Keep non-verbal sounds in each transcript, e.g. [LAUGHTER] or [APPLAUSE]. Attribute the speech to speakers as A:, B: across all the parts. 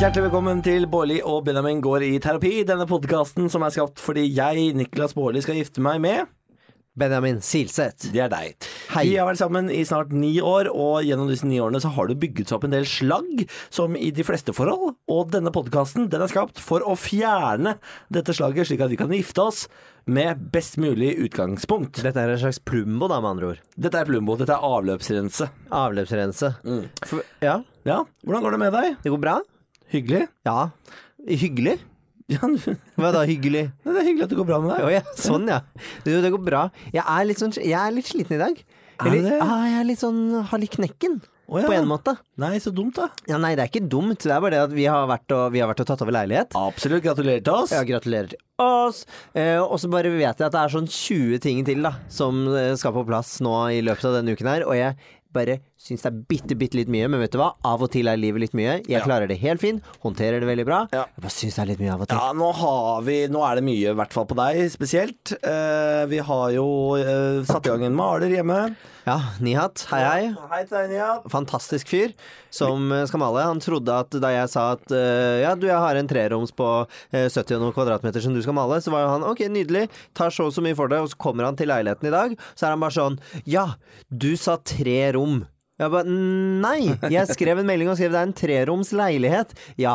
A: Hjertelig velkommen til Bårli og Benjamin går i terapi. Denne podkasten som er skapt fordi jeg, Niklas Bårli, skal gifte meg med
B: Benjamin Silseth.
A: Det er deg.
B: Hei.
A: Vi har vært sammen i snart ni år, og gjennom disse ni årene så har det bygget seg opp en del slagg, som i de fleste forhold. Og denne podkasten den er skapt for å fjerne dette slagget, slik at vi kan gifte oss med best mulig utgangspunkt.
B: Dette er en slags plumbo, da, med andre ord.
A: Dette er Plumbo. Dette er avløpsrense.
B: Avløpsrense. For, ja,
A: Ja, hvordan går det med deg?
B: det går bra?
A: Hyggelig?
B: Ja. Hyggelig?
A: Ja, [LAUGHS] det
B: Hva da, hyggelig?
A: er hyggelig at det går bra med
B: Å
A: deg.
B: ja, sånn ja. Du, det går bra. Jeg er litt, sånn, jeg er litt sliten i dag.
A: Er du det?
B: Ja, jeg er litt sånn har litt knekken,
A: Å, ja.
B: på en måte.
A: Nei, så dumt, da.
B: Ja, nei, det er ikke dumt. Det er bare det at vi har vært og, vi har vært og tatt over leilighet.
A: Absolutt. Gratulerer til oss.
B: Ja, gratulerer til oss. Eh, og så bare vet jeg at det er sånn 20 ting til da, som eh, skal på plass nå i løpet av denne uken her. Og jeg bare syns det er bitte, bitte litt mye, men vet du hva? Av og til er livet litt mye. Jeg
A: Ja.
B: klarer det helt fint, håndterer det veldig bra.
A: Ja.
B: Jeg bare syns det er litt mye av og til.
A: Ja, nå, har vi, nå er det mye, i hvert fall på deg spesielt. Eh, vi har jo eh, satt i gang en maler hjemme.
B: Ja, Nihat, hei hei.
A: Hei til deg, Nihat.
B: Fantastisk fyr som eh, skal male. Han trodde at da jeg sa at eh, ja, du, jeg har en treroms på eh, 70 og noen kvadratmeter som du skal male, så var jo han ok, nydelig, tar så og så mye for det, og så kommer han til leiligheten i dag, så er han bare sånn ja, du sa tre rom. Jeg bare nei, jeg skrev en melding og skrev det er en treroms leilighet. Ja,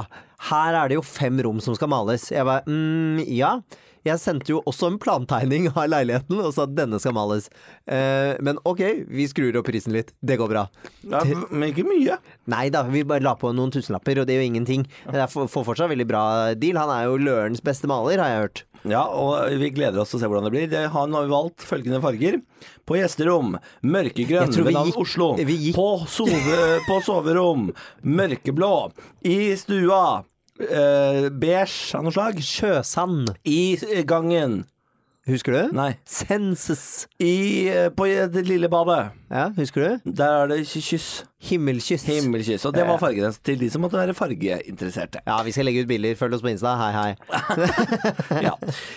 B: her er det jo fem rom som skal males. Jeg bare mm, ja. Jeg sendte jo også en plantegning av leiligheten og sa at denne skal males. Eh, men ok, vi skrur opp prisen litt. Det går bra.
A: Ja, men ikke mye.
B: Nei da, vi bare la på noen tusenlapper, og det gjør ingenting. Det er for, for fortsatt veldig bra deal. Han er jo Lørens beste maler, har jeg hørt.
A: Ja, og vi gleder oss til å se hvordan det blir. Det- Han har valgt følgende farger. På gjesterom, mørkegrønn
B: Jeg tror vi
A: ved navn
B: gikk-
A: Oslo.
B: vi gikk-
A: På, sove, på soverom, mørkeblå. I stua, eh, beige av noe slag.
B: Sjøsand.
A: I eh, gangen.
B: Husker du?
A: Nei.
B: Senses.
A: I, eh, på det lille badet.
B: Ja, husker du?
A: Der er det ky- kyss.
B: Himmelkyss.
A: Himmelkyss. Og det var fargen hans til de som måtte være fargeinteresserte.
B: ja, vi skal legge ut bilder. Følg oss på Insta. Hei, hei.
A: Ja.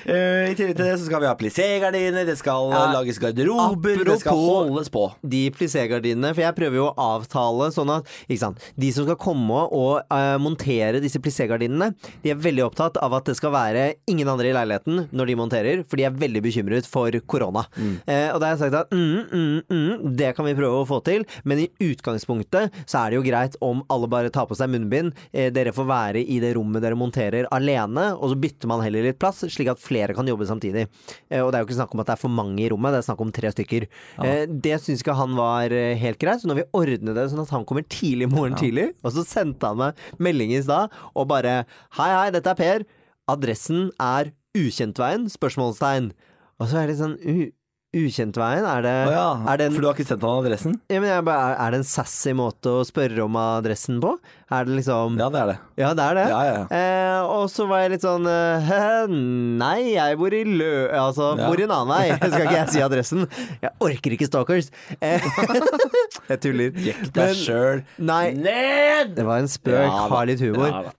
A: Eh, I tillegg til det så skal vi ha plissé-gardiner, det skal
B: Ja.
A: eh, lages garderober, det skal
B: Apropos-
A: holdes på.
B: De plissé-gardinene, for jeg prøver jo å avtale sånn at ikke sant? De som skal komme og eh, montere disse plissé-gardinene, de er veldig opptatt av at det skal være ingen andre i leiligheten når de monterer, for de er veldig bekymret for korona. Eh, og da har jeg sagt at mm, mm, mm, det kan vi prøve å få til, men i utgangspunktet så er det jo greit om alle bare tar på seg munnbind, eh, dere får være i det rommet dere monterer alene, og så bytter man heller litt plass, slik at flere kan jobbe samtidig. Eh, og det er jo ikke snakk om at det er for mange i rommet, det er snakk om tre stykker. Eh, det syns ikke han var eh, helt greit, så når vi ordnet det sånn at han kommer tidlig i morgen tidlig, og så sendte han meg melding i stad og bare Hei, hei, dette er Per. Adressen er Ukjentveien? spørsmålstegn. Og så er det litt sånn u Ukjentveien? Er det,
A: Å ja,
B: er det en
A: For du har ikke sendt han adressen?
B: ja, men jeg bare, er, er det en sassy måte å spørre om adressen på? Er det liksom Ja,
A: Ja, det er det.
B: det er det.
A: Ja, ja, ja.
B: Eh, og så var jeg litt sånn eh, [LAUGHS] Nei, jeg bor i Lø... Altså,
A: Ja.
B: bor i en annen vei. [LAUGHS] Skal ikke jeg si adressen? Jeg orker ikke stalkers. Eh, [LAUGHS] jeg tuller.
A: Jekk deg
B: Men-
A: sjøl
B: Nei.
A: ned!
B: Det var en spøk.
A: Ja, da.
B: ha litt humor.
A: Ja, da.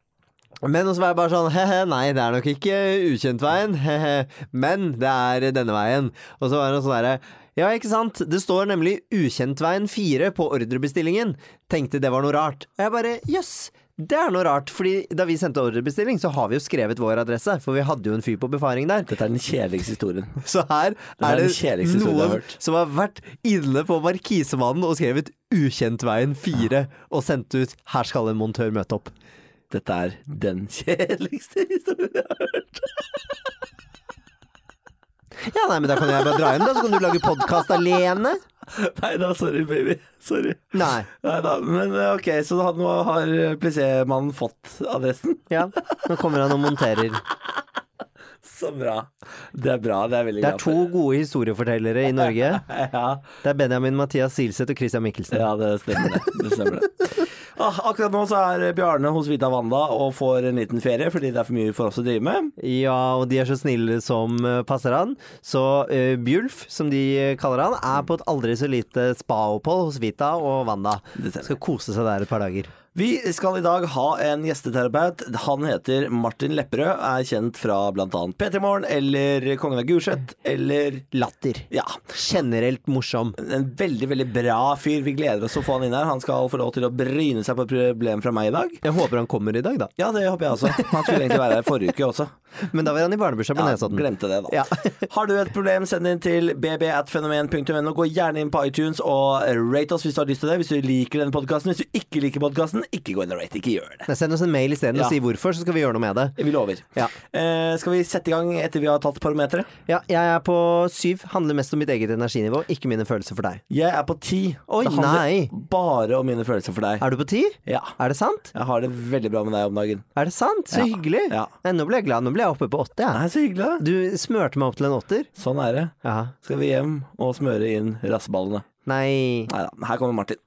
B: Men også var jeg bare sånn Hehe, nei, det er nok ikke ukjentveien, hehe, men det er denne veien. Og så var det sånn derre Ja, ikke sant? Det står nemlig Ukjentveien 4 på ordrebestillingen. Tenkte det var noe rart. Og jeg bare jøss. Det er noe rart, fordi da vi sendte ordrebestilling, så har vi jo skrevet vår adresse, for vi hadde jo en fyr på befaring der.
A: Dette er den kjedeligste historien.
B: Så
A: er
B: her er
A: den
B: det
A: kjedeligste historien jeg har
B: noen
A: hørt.
B: som har vært inne på Markisemannen og skrevet Ukjentveien 4 og sendt ut 'Her skal en montør møte opp'.
A: Dette er den kjedeligste historien jeg har hørt.
B: [LAUGHS] Ja, nei, men da kan jeg bare dra hjem, da. Så kan du lage podkast alene.
A: [LAUGHS] Nei da, sorry, baby. Sorry.
B: Nei.
A: Nei da, men eh, ok, så da- nå har eh, plissé-mannen fått adressen.
B: Ja, nå kommer han og monterer.
A: Så bra. Det er bra. Det er veldig
B: Det er
A: glad
B: to
A: for.
B: gode historiefortellere i Norge.
A: [LAUGHS] Ja,
B: Det er Benjamin Mathias Silseth og Christian
A: [LAUGHS]
B: Mikkelsen.
A: ja, det stemmer det. det, stemmer det. Ah, akkurat nå så er Bjarne hos Vita Wanda og får en liten ferie fordi det er for mye for oss å drive med.
B: Ja, og de er så snille som eh, passer han. Så eh, Bjulf, som de eh, kaller han, er på et aldri så lite spaopphold hos Vita og Wanda.
A: Det stemmer.
B: Skal kose seg der et par dager.
A: Vi skal i dag ha en gjesteterapeut. Han heter Martin Lepperød, er kjent fra bl.a. P3 Morgen eller Kongen av Gulset eller
B: Latter.
A: Ja.
B: Generelt morsom.
A: En veldig, veldig bra fyr. Vi gleder oss å få han inn her. Han skal få lov til å bryne seg på problem fra meg i dag.
B: Jeg håper han kommer i dag, da.
A: Ja, det håper jeg også. Han skulle egentlig være her forrige uke også.
B: Men da var han i barnebursdag på
A: Ja,
B: Nesodden.
A: glemte det, da.
B: Ja.
A: [LAUGHS] Har du et problem, send det inn til bb.fenomen.no. Gå gjerne inn på iTunes og rate oss hvis du har lyst til det. Hvis du liker denne podkasten. Hvis du ikke liker podkasten, ikke gå inn og rate. Ikke gjør det.
B: Nei, Send oss en mail isteden
A: Ja.
B: og si hvorfor, så skal vi gjøre noe med det.
A: Vi lover.
B: Ja.
A: Eh, skal vi sette i gang etter vi har tatt parometeret?
B: Ja, jeg er på syv. Handler mest om mitt eget energinivå, ikke mine følelser for deg.
A: Jeg er på ti.
B: Oi,
A: det handler
B: nei.
A: bare om mine følelser for deg.
B: Er du på ti?
A: Ja.
B: Er det sant?
A: Jeg har det veldig bra med deg om dagen.
B: Er det sant? Så
A: Ja.
B: hyggelig.
A: Ja.
B: Nei, nå ble jeg glad. Nå ble jeg oppe på åtte, jeg.
A: Nei, så hyggelig. da.
B: Du smørte meg opp til en åtter.
A: Sånn er det.
B: Ja.
A: Skal vi hjem og smøre inn rasseballene.
B: Nei.
A: Nei da. Her kommer Martin.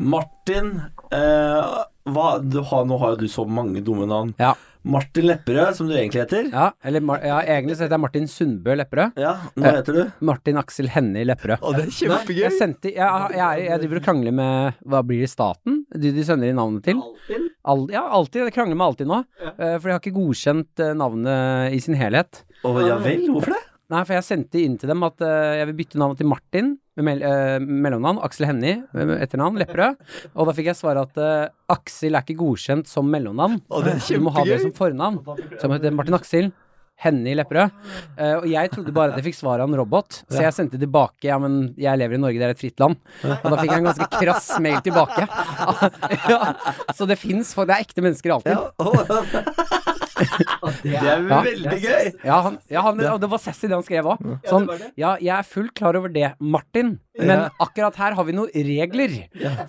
A: Martin eh, hva, du har, Nå har jo du så mange dumme navn.
C: Ja.
A: Martin Lepperød, som du egentlig heter.
C: Ja, eller, Mar- ja, egentlig så heter jeg Martin Sundbø Lepperød.
A: Ja,
C: Eh.
A: nå heter du
C: Martin Aksel Hennie Lepperød.
B: Å, det er
C: Jeg, sendte, jeg, jeg, er- jeg driver og krangler med Hva blir det staten? De de sender inn navnet til. Al, ja, alltid. Jeg krangler med alltid nå. eh, For de har ikke godkjent eh, navnet i sin helhet.
A: Å ja vel, hvorfor det?
C: Nei, for jeg sendte inn til dem at eh, jeg vil bytte navnet til Martin med mel eh, mellomnavn. Aksel Hennie med- med etternavn Lepperød. Og da fikk jeg svare at eh, Aksel er ikke godkjent som mellomnavn.
B: Å, det er
C: Du må ha det
B: kjempegøy.
C: som fornavn. Så jeg heter Martin Aksel. Henny Lepperød. Eh, og jeg trodde bare at jeg fikk svar av en robot, så jeg sendte tilbake ja, men jeg lever i Norge, det er et fritt land. Og da fikk jeg en ganske krass mail tilbake. [LAUGHS] ja, så det fins, for det er ekte mennesker alltid.
A: Det er
C: Ja.
A: veldig gøy!
C: Ja, han, ja han, og det var sassy det han skrev òg. Sånn, ja, jeg er fullt klar over det, Martin, men
A: Ja.
C: akkurat her har vi noen regler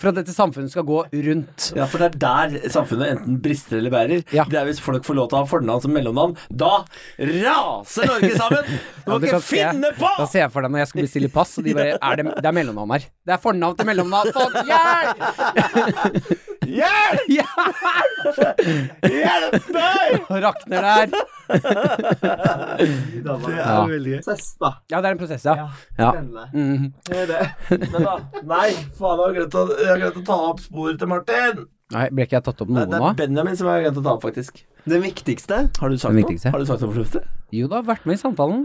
C: for at dette samfunnet skal gå rundt.
A: Ja, for det er der samfunnet enten brister eller bærer.
C: Ja.
A: Det er hvis folk får lov til å ha fornavn som mellomnavn. Da raser Norge
C: [LAUGHS]
A: sammen! Du må
C: Ja, du
A: ikke
C: kan se-
A: finne på!
C: Da ser jeg for deg når jeg skal bestille pass, og de bare er det, det er mellomnavn her. Det er fornavn til mellomnavn. Folk, hjelp!
A: [LAUGHS]
C: [LAUGHS]
A: Hjelp! Hjelp meg!
C: Rakner der.
A: Det er
C: Ja.
A: veldig gøy.
C: Ja, det er en prosess, ja. ja. Mm.
A: Men da, nei, faen, jeg har glemt å, jeg har glemt å ta opp sporet til Martin.
C: Nei, ble ikke jeg tatt opp
A: Nei,
C: noe
A: det
C: nå?
A: er Benjamin som jeg har glemt å ta opp, faktisk.
B: Det viktigste
A: Har du sagt
C: Den
A: noe?
C: viktigste.
A: Har du sagt noe fornuftig?
C: Jo, du har vært med i samtalen.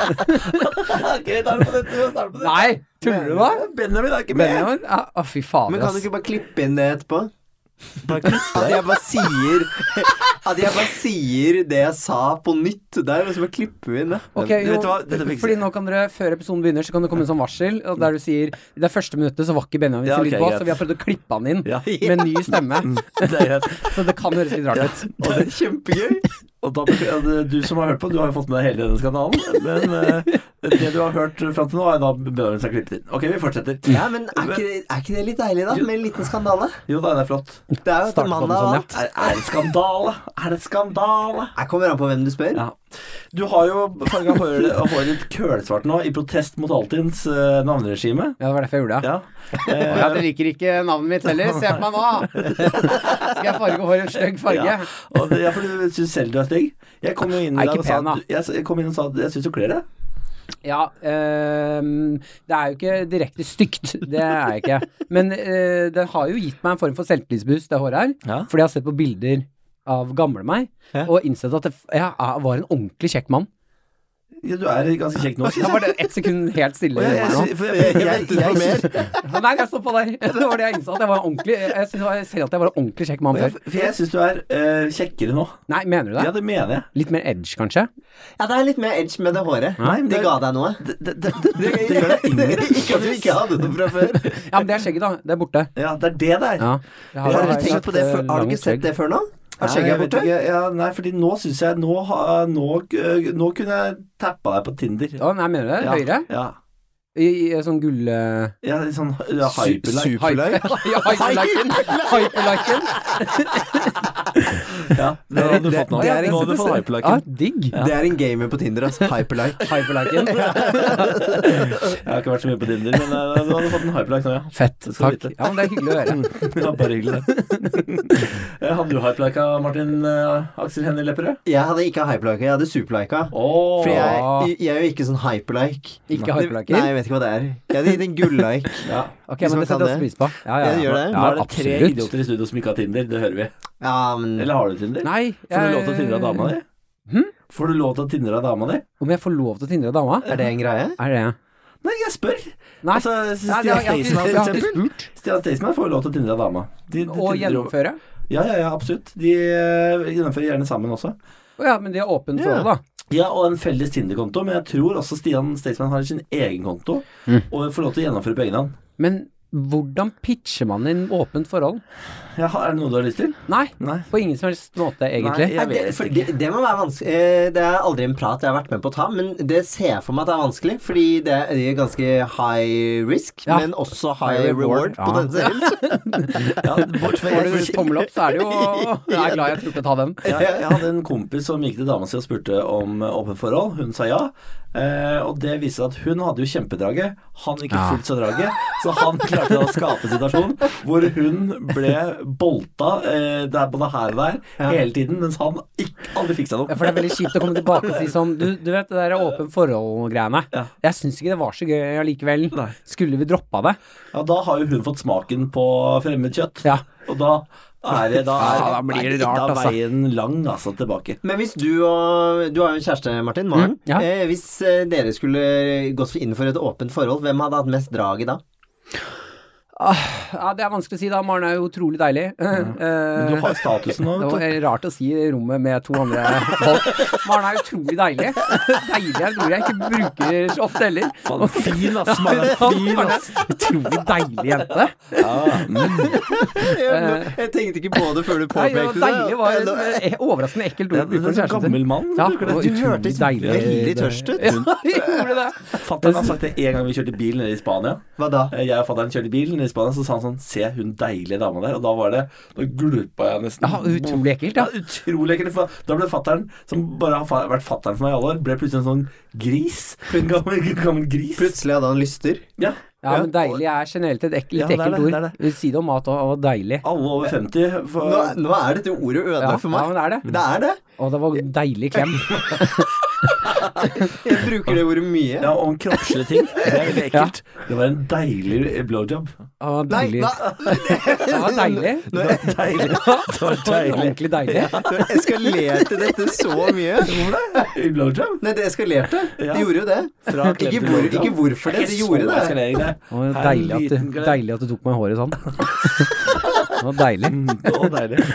A: Ok, da er det på dette, vi starter på det.
C: Nei, tuller du nå?
A: Benjamin er ikke med.
C: Benjamin? Ja, Å, fy fader,
B: Men kan du
C: ass.
B: ikke bare klippe inn det etterpå? At jeg bare sier At jeg bare sier det jeg sa på nytt der, og så bare klipper vi inn det.
C: Ok,
A: Vet
C: jo,
A: du hva? Dette fikser
C: fordi nå kan dere, Før episoden begynner, så kan det komme en sånn varsel og der du sier I det første minuttet så var ikke Benjamin
A: Ja, ok,
C: sin lyd på,
A: greit.
C: så vi har prøvd å klippe han inn
A: Ja.
C: med en
A: [LAUGHS]
C: ny stemme.
A: Det er greit.
C: Så det kan høres litt rart ut.
B: Og det er kjempegøy.
A: [LAUGHS] Og da, du som har hørt på, du har jo fått med deg hele denne skandalen. Men eh, det du har hørt fram til nå, er da Benjamin som har klippet inn. Ok, vi fortsetter.
B: Ja, men er ikke, det- er ikke det litt deilig, da? Med en liten skandale?
A: Jo da, det er flott.
B: Det er jo
C: Starter på
B: etter mandag
C: den
B: og
C: sånn,
B: alt.
A: Er, er det skandale? Er det skandale?
B: Jeg kommer an på hvem du spør.
A: Ja. Du har jo farga
B: [LAUGHS]
A: håret håret ditt kølsvart nå, i protest mot Altins eh, navneregime.
C: Ja, Det var derfor jeg gjorde det.
A: Ja.
C: Ja. dere liker ikke navnet mitt heller. Se på
A: [LAUGHS]
C: meg nå! Skal jeg farge håret en stygg farge?
A: Ja. Og det, ja, for du syns selv du er stygg. Jeg kom jo inn
C: Nei,
A: i dag
C: ikke
A: og sa
C: pen, da.
A: at du- jeg, jeg kom inn og sa at jeg syns du kler det.
C: Ja, øhm, det er jo ikke direkte stygt. Det er jeg ikke. Men øh, det har jo gitt meg en form for selvtillitsboost, det håret her.
A: Ja.
C: Fordi jeg har sett på bilder av gamle meg,
B: Ja.
C: og innsett at det, f- jeg er- var en ordentlig kjekk mann.
A: Ja, du er ganske kjekk nå.
C: Da var det ett sekund helt stille.
A: Og jeg,
C: i
A: jeg,
C: meg nå.
A: sy- for jeg, jeg, jeg, jeg, jeg,
C: Nei, jeg stoppa der. Det var det jeg innså. At jeg var en ordentlig Jeg synes det var- jeg ser at jeg var en ordentlig kjekk mann før.
A: for jeg syns du er eh, kjekkere nå.
C: Nei, mener du
A: Ja,
C: det?
A: det mener jeg.
C: Litt mer edge, kanskje?
B: Ja, det er litt mer edge med det håret.
A: Nei, men
B: De
A: det-
B: ga deg noe.
A: Det, det, det, det, det, det gjør deg yngre.
B: Ikke at du ikke hadde noe fra før.
C: Ja, men det er skjegget, da. Det er borte.
A: Ja, det er det der.
C: Ja. Jeg
A: Har
B: Har
A: du
B: du
A: ikke
B: ikke
C: hatt,
B: tenkt på det
C: eh,
B: før? Har du
C: langt
B: ikke sett
C: skjegg.
B: det før nå?
A: Er skjegget
B: jeg vet
A: borte? Ja, nei, fordi nå syns jeg nå, ha- nå, eh, nå kunne jeg tappa deg på Tinder.
C: Å, nei, mener du det?
A: Ja,
C: Høyre?
A: Ja.
C: I, i sånn gull... eh,
A: ja litt sånn ja,
B: Su-
A: hyperlike.
B: Superlike?
C: [LAUGHS] Ja, hyperliken. Hyperliken.
A: Ja, det hadde
C: [LAUGHS]
A: du
B: Det-
A: fått nå.
B: det er en-
A: Nå hadde du fått
C: Ja,
A: hyperliken.
C: digg.
B: Det er en gamer på Tinder, ass. Hyperlike.
C: Hyperliken.
A: Jeg har ikke vært så mye på Tinder, men eh, du hadde fått en hyperlike nå, ja.
C: Fett.
A: Det skal
C: Takk.
A: vite.
C: Ja, men det er hyggelig å
B: Mm.
C: høre.
A: ja bare hyggelig, det. Eh, Hadde du hyperlika, Martin eh, Aksel Hennie Lepperød?
B: [LAUGHS] Jeg hadde ikke hyperlike, jeg hadde superlika.
A: Oh,
B: For
A: ja.
B: jeg, jeg er jo ikke sånn hyperlike.
C: Ikke
B: Nei,
C: hyperliken.
B: jeg vet ikke hva det er. Jeg hadde gitt en gullike. hvis man
C: Ok, men det
B: kan
C: setter jeg
B: det.
C: også pris på. Ja, ja,
B: Jeg gjør
C: ja.
B: det.
A: Nå
C: Ja,
A: er det tre
C: absolutt.
A: idioter i studio som ikke har Tinder, det hører vi.
B: Ja, men
A: Eller har du Tinder?
C: Nei.
A: Får du
C: jeg-
A: lov til å tindre av dama di?
C: hm?
A: Får du lov til å tindre av dama di?
C: Om jeg får lov til å tindre dama?
B: er det en greie?
C: Er det
A: Nei, jeg spør!
C: Nei.
A: Altså,
C: Nei, det
A: Stian
C: har jeg
A: Staysman,
C: alltid-
A: for
C: jeg har alltid
A: eksempel.
C: spurt.
A: Stian Staysman får jo lov til å tindre av dama. De, de
C: Og
A: tindrer jo-
C: gjennomføre.
A: Ja, ja, ja, absolutt. De eh, gjennomfører gjerne sammen også.
C: Å ja, men de er åpne for
B: Ja.
C: det, da.
A: Ja, og en felles Tinder-konto, men jeg tror også Stian Staysman har sin egen konto,
C: Mm.
A: og får lov til å gjennomføre på egen hånd.
C: Men hvordan pitcher man inn åpent forhold?
A: Ja, er det noe du har lyst til?
C: Nei,
A: Nei.
C: på ingen som helst måte, egentlig.
A: Nei, jeg
B: det,
A: vet
B: for
A: ikke.
B: det, det må være vanskelig eh, Det er aldri en prat jeg har vært med på å ta, men det ser jeg for meg at det er vanskelig, fordi det er ganske high risk,
C: Ja.
B: men også high,
C: High reward,
B: reward,
C: [LAUGHS]
B: potensielt.
A: Ja, bort fra
C: Får du tommel opp, så er det
A: [LAUGHS]
C: jo Jeg er glad jeg turte å ta den.
A: jeg, jeg hadde en kompis som gikk til dama si og spurte om eh, åpent forhold. Hun sa ja. Eh, og det viste seg at hun hadde jo kjempedraget, han ikke fullt så draget. Så han klarte å skape en situasjon hvor hun ble bolta eh, der, både her og der hele tiden, mens han ikke, aldri fikk seg
C: Ja,
A: noe.
C: For det er veldig kjipt å komme tilbake og si sånn Du, du vet det der åpen forhold-greiene.
A: Ja.
C: Jeg syns ikke det var så gøy allikevel.
A: Nei.
C: Skulle vi droppa det?
A: Ja, da har jo hun fått smaken på fremmed kjøtt.
C: Ja.
A: Og da er det Da, er,
C: Ja, da blir det rart,
A: da er
C: altså.
A: veien lang, altså, tilbake.
B: Men hvis du og Du har jo en kjæreste, Martin, Maren.
C: Mm, ja.
B: eh, hvis eh, dere skulle gått inn for et åpent forhold, hvem hadde hatt mest drag i da? [LAUGHS]
C: Ja, Det er vanskelig å si, da. Maren er jo utrolig deilig. [LAUGHS]
A: Men
C: Eh,
A: du har statusen nå,
C: Det
A: vet
C: var
A: du.
C: rart å si i rommet med to andre folk. Maren er utrolig deilig. Deilig er et ord jeg ikke bruker så ofte heller.
A: Faen, fin,
C: [LAUGHS]
A: ass. Man er fin, ass. Mm.
C: Utrolig deilig jente.
B: Jeg tenkte ikke på det før du
C: Eh. [LAUGHS] Nei,
B: påpekte
C: det var deilig var
B: det.
C: et eh, overraskende ekkelt
A: Det
C: ord å
A: er en
C: bruke om
A: sånn
C: kjæresten sin.
A: gammel mann.
C: Ja,
A: som bruker
C: det var
A: det.
C: utrolig deilig.
B: [LAUGHS] Veldig tørst ut.
C: Ja, jeg gjorde det.
A: Fatter'n har sagt det en gang vi kjørte bil nede i Spania.
B: Hva da?
A: Eh, Jeg og fatter'n kjørte bil nede i Spania, så sa han sånn Se hun deilige dama der. Og da var det Da gulpa jeg nesten.
C: Ja, utrolig ekkelt, ja.
A: utrolig ekkelt. for Da ble fatter'n, som bare har fa- vært fatter'n for meg i alle år, ble plutselig en sånn gris. En gammel, gammel gris.
B: Plutselig hadde han lyster.
A: Ja.
C: Ja, men deilig er generelt et ek-
A: Ja, det er
C: litt ekkelt
A: det,
C: ord.
A: det er det.
C: Vi sier det om mat og, og deilig.
A: Alle over 50 for,
B: Nå, nå er dette ordet
C: Ja,
B: ødelagt for
C: ja,
B: meg.
C: men det er det.
B: det er det.
C: Og det var deilig klem.
B: Jeg bruker det ordet mye.
A: Ja, om kroppslige ting. Det er veldig ekkelt. Det var en deilig eh, blowjob.
B: Nei,
C: Og deilig.
B: hva?
C: Det var deilig.
A: Det var deilig. Det var
C: Det var
A: deilig.
C: Ordentlig deilig.
B: Nå eskalerte dette så mye.
A: I Blowjob?
B: Nei, det eskalerte.
A: Ja.
B: Det gjorde jo det.
A: Fra klem
B: Ikke,
A: til
B: hvor,
A: blowjob.
B: ikke hvorfor det,
A: Ikke
B: det
A: så
B: gjorde det.
A: eskalering, det.
C: Det var
A: Her er en
C: deilig, at
A: liten
C: du,
A: glede.
C: deilig at du tok meg i håret sånn. Det var deilig.
A: Å, deilig.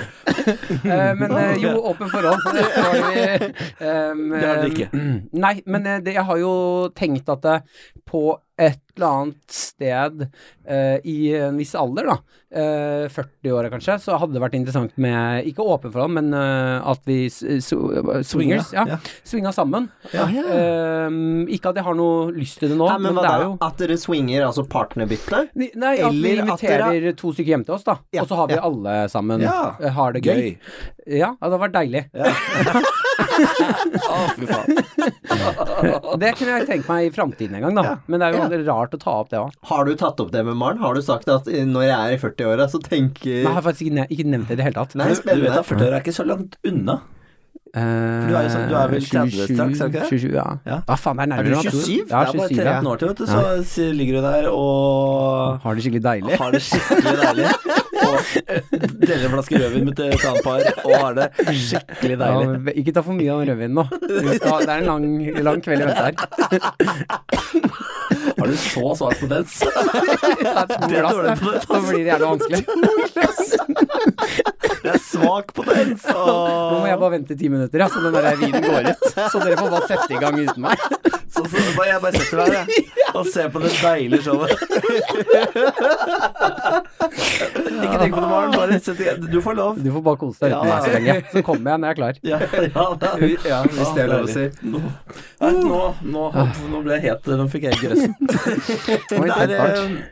C: Eh, men eh, jo, åpen forhold. Det har vi, ehm,
A: Det har dere ikke.
C: ehm, Nei, men eh, det, jeg har jo tenkt at eh, på et eller annet sted eh, i en viss alder, da, eh, 40-åra kanskje, så hadde det vært interessant med Ikke åpen forhold, men eh, at vi s- s- swingers, ja,
A: ja.
C: swinga sammen.
B: Ja.
C: Ehm, ikke at jeg har noe lyst til det nå,
B: Nei,
C: men,
B: men hva
C: det
B: da?
C: er jo
B: At dere swinger, altså partnerbytte?
C: Nei, nei, at vi
B: Eller at dere-
C: inviterer to stykker hjem til oss, da.
B: Ja,
C: og så har vi
B: ja.
C: alle sammen
A: Ja.
C: eh, har det gøy.
A: Gøy.
C: Ja, det hadde vært deilig. [LAUGHS]
A: Å, fy faen. [LAUGHS]
C: Det kunne jeg tenkt meg i framtiden en gang, da. Men det er jo
B: Ja.
C: veldig rart å ta opp det òg.
B: Har du tatt opp det med Maren? Har du sagt at eh, når jeg er i 40-åra, så tenker
C: Jeg har faktisk ikke, ne ikke nevnt det i det hele tatt.
B: Nei,
A: Du, du vet
B: spennende.
A: at 40 år er ikke så langt unna.
C: Eh,
A: du er jo sånn- du er vel 30 straks, er du ikke det?
C: 27, ja.
A: Ja.
C: Ah, faen, det
A: Er
C: er
A: du
C: nærmere. enn jeg tror.
A: 27?
C: Ja,
A: det er bare
C: 27 ja.
A: 13 år til, vet du. Så si- ligger du der og
C: Har det skikkelig deilig.
A: har det skikkelig deilig. Og eh, deler en flaske rødvin med et annet par, og har det skikkelig
C: Ja,
A: deilig.
C: men ikke ta for mye av den rødvinen nå.
A: [LAUGHS]
C: Vi skal- Det er en lang, lang kveld i vente her.
A: Har du så svak potens? [LAUGHS]
C: Det er to
A: Det er
C: glass,
A: dårlig
C: det.
A: på det,
C: Så blir det gjerne vanskelig.
A: Det er svak potens! Og...
C: Nå må jeg bare vente ti minutter, ja, så den der vinen går ut. Så dere får bare sette i gang uten meg.
A: Så, så, bare, jeg bare setter deg her, jeg. og se på det deilige
C: [LAUGHS]
A: showet. Ikke tenk på det, Maren. Bare sett i gang. Du får lov.
C: Du får bare kose deg
A: Ja.
C: uten meg så lenge. Så kommer jeg når jeg er klar.
A: Ja,
B: [LAUGHS]
A: ja, da.
B: Ja, hvis det er lov å si.
A: Nå, nei, nå, nå, nå ble jeg het. Nå fikk jeg grøssen.
B: [LAUGHS]
C: Oi,
A: Det er,
C: det er fart.
A: eh,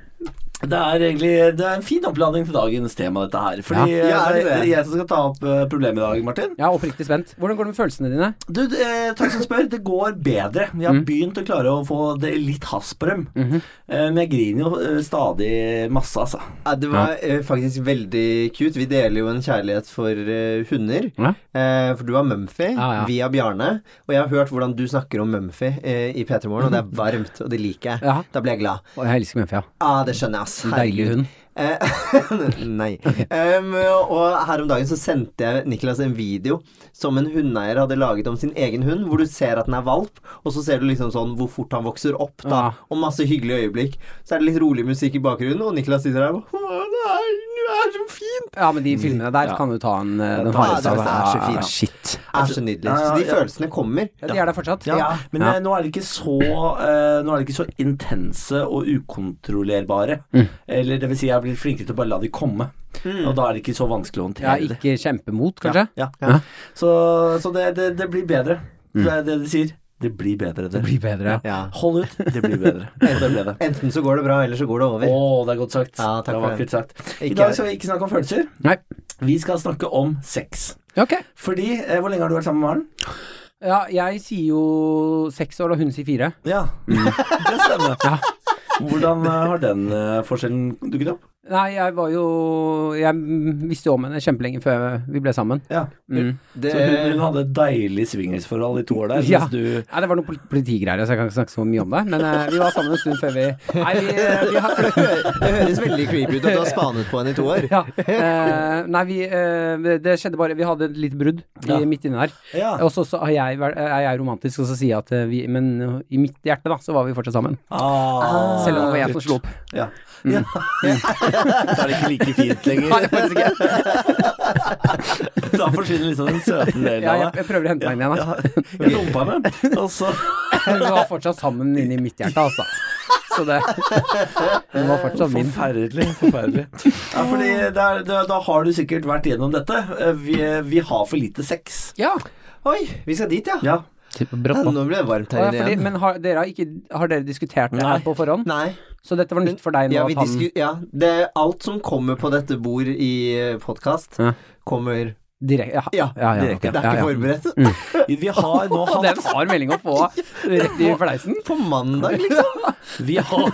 A: det er egentlig det er en fin oppladning til dagens tema, dette her. Fordi
B: Ja, ja,
A: eh,
B: er
A: det
B: det
A: er
B: det?
A: jeg som skal ta opp eh, problemet i dag, Martin.
C: Jeg er oppriktig spent. Hvordan går det med følelsene dine?
A: Du, eh, takk som spør. Det går bedre. Jeg
B: Mm.
A: har begynt å klare å få det litt has på dem.
B: Mhm.
A: Eh, men jeg griner jo eh, stadig masse, altså.
B: Ja, det var eh, faktisk veldig cute. Vi deler jo en kjærlighet for eh, hunder.
C: Ja.
B: Eh, for du har Mumphy,
C: Ja, ja.
B: vi har Bjarne. Og jeg har hørt hvordan du snakker om Mumphy eh, i P3 Morgen, og det er varmt, og det liker jeg.
C: Ja.
B: Da blir jeg glad.
C: Å, jeg elsker Mumphy, ja.
B: Ja, det skjønner jeg, ass.
C: Deilig hund.
B: Eh, [LAUGHS] nei. Em, og her om dagen så sendte jeg Niklas en video som en hundeeier hadde laget om sin egen hund, hvor du ser at den er valp, og så ser du liksom sånn hvor fort han vokser opp, da,
C: Ja.
B: og masse hyggelige øyeblikk. Så er det litt rolig musikk i bakgrunnen, og Niklas sitter der og bare, Å nei, du er så fin!
C: Ja, men de filmene der kan du ta en, eh, den hardeste
B: det
C: av.
B: er så
C: Ja,
B: fint.
C: ja, Shit.
B: Er så nydelig. Så de
A: Ja, ja.
B: følelsene kommer.
C: Ja, de er der fortsatt?
A: Ja, men
C: Ja.
A: eh, nå er det ikke så eh, Nå er det ikke så intense og ukontrollerbare.
C: Mm.
A: Eller det vil si, jeg har blitt flinkere til å bare la de komme.
B: Mm.
A: Og da er det ikke så vanskelig å
C: Ja,
A: håndtere det.
C: ikke kjempemot, kanskje?
A: Ja,
C: Ja.
A: Så, så det, det, det blir bedre. Det er det de sier. Det blir bedre, det.
C: Mm. Blir bedre.
B: Ja.
A: Hold ut, det blir
C: [LAUGHS]
A: bedre. Og det ble det.
B: Enten så går det bra, eller så går det
A: Å,
B: over.
A: det er godt sagt.
B: Ja, takk
A: det er
B: for det.
A: vakkert sagt. I
B: Ikke-
A: dag skal vi ikke snakke om følelser.
C: Nei.
A: Vi skal snakke om sex.
C: Ok.
A: Fordi eh, Hvor lenge har du vært sammen med Maren?
C: Ja, jeg sier jo seks år, og hun sier fire.
A: Ja, Mm. det stemmer. Hvordan eh, har den eh, forskjellen dukket opp?
C: Nei, jeg var jo Jeg mm, visste jo om henne kjempelenge før vi ble sammen.
A: Ja.
C: Mm.
B: Det,
A: Så hun, hun hadde et deilig swingersforhold i to år der,
C: Ja.
A: mens du
C: Nei, det var noen pol- politigreier, så jeg kan ikke snakke så mye om det. Men eh, vi var sammen en stund før vi Nei, vi, eh, vi har
B: det høres veldig creepy ut at du har spanet på henne i to år.
C: ja. eh, Nei, vi eh, Det skjedde bare Vi hadde et lite brudd i,
A: Ja.
C: midt inni der.
A: Ja.
C: Og så så er jeg, vært- er jeg romantisk, og så sier jeg at eh, vi Men i mitt hjerte, da, så var vi fortsatt sammen.
A: ah,
C: Selv om det var jeg som slo opp.
A: Ja. ja. Mm. [LAUGHS]
D: Da er det ikke like fint lenger.
A: Da forsvinner liksom den søte delen
C: Ja, jeg,
A: av deg.
C: jeg prøver å hente meg inn igjen, da. [LAUGHS]
A: Ja, jeg dumpa henne, og så
C: Hun var fortsatt sammen inni mitt hjerte, altså. Så det Hun var fortsatt Sånn min.
A: Forferdelig. forferdelig ja, fordi der, da, da har du sikkert vært gjennom dette. Eh, Vi, vi har for lite sex.
C: Ja.
B: Oi, vi skal dit, ja.
A: Ja.
B: Ja, nå ble det varmt her
C: Og
B: inne
C: det er fordi,
B: igjen.
C: men har dere, har ikke, har dere diskutert det her på forhånd?
B: Nei.
C: Så dette var nytt for deg nå?
B: Ja,
C: at
B: vi
C: han-
B: disku ja, det er alt som kommer på dette bord i podkast,
C: Ja.
B: kommer
C: direk, ja,
B: Ja,
C: ja, ja,
A: direkte.
C: ok.
B: Det er
C: Ja, Mm.
B: ikke
C: ja.
B: forberedt.
A: Vi har nå
C: Og det er
A: hatt
C: en hard melding å få rett i fleisen.
B: På mandag, liksom.
C: [LAUGHS]
A: Vi har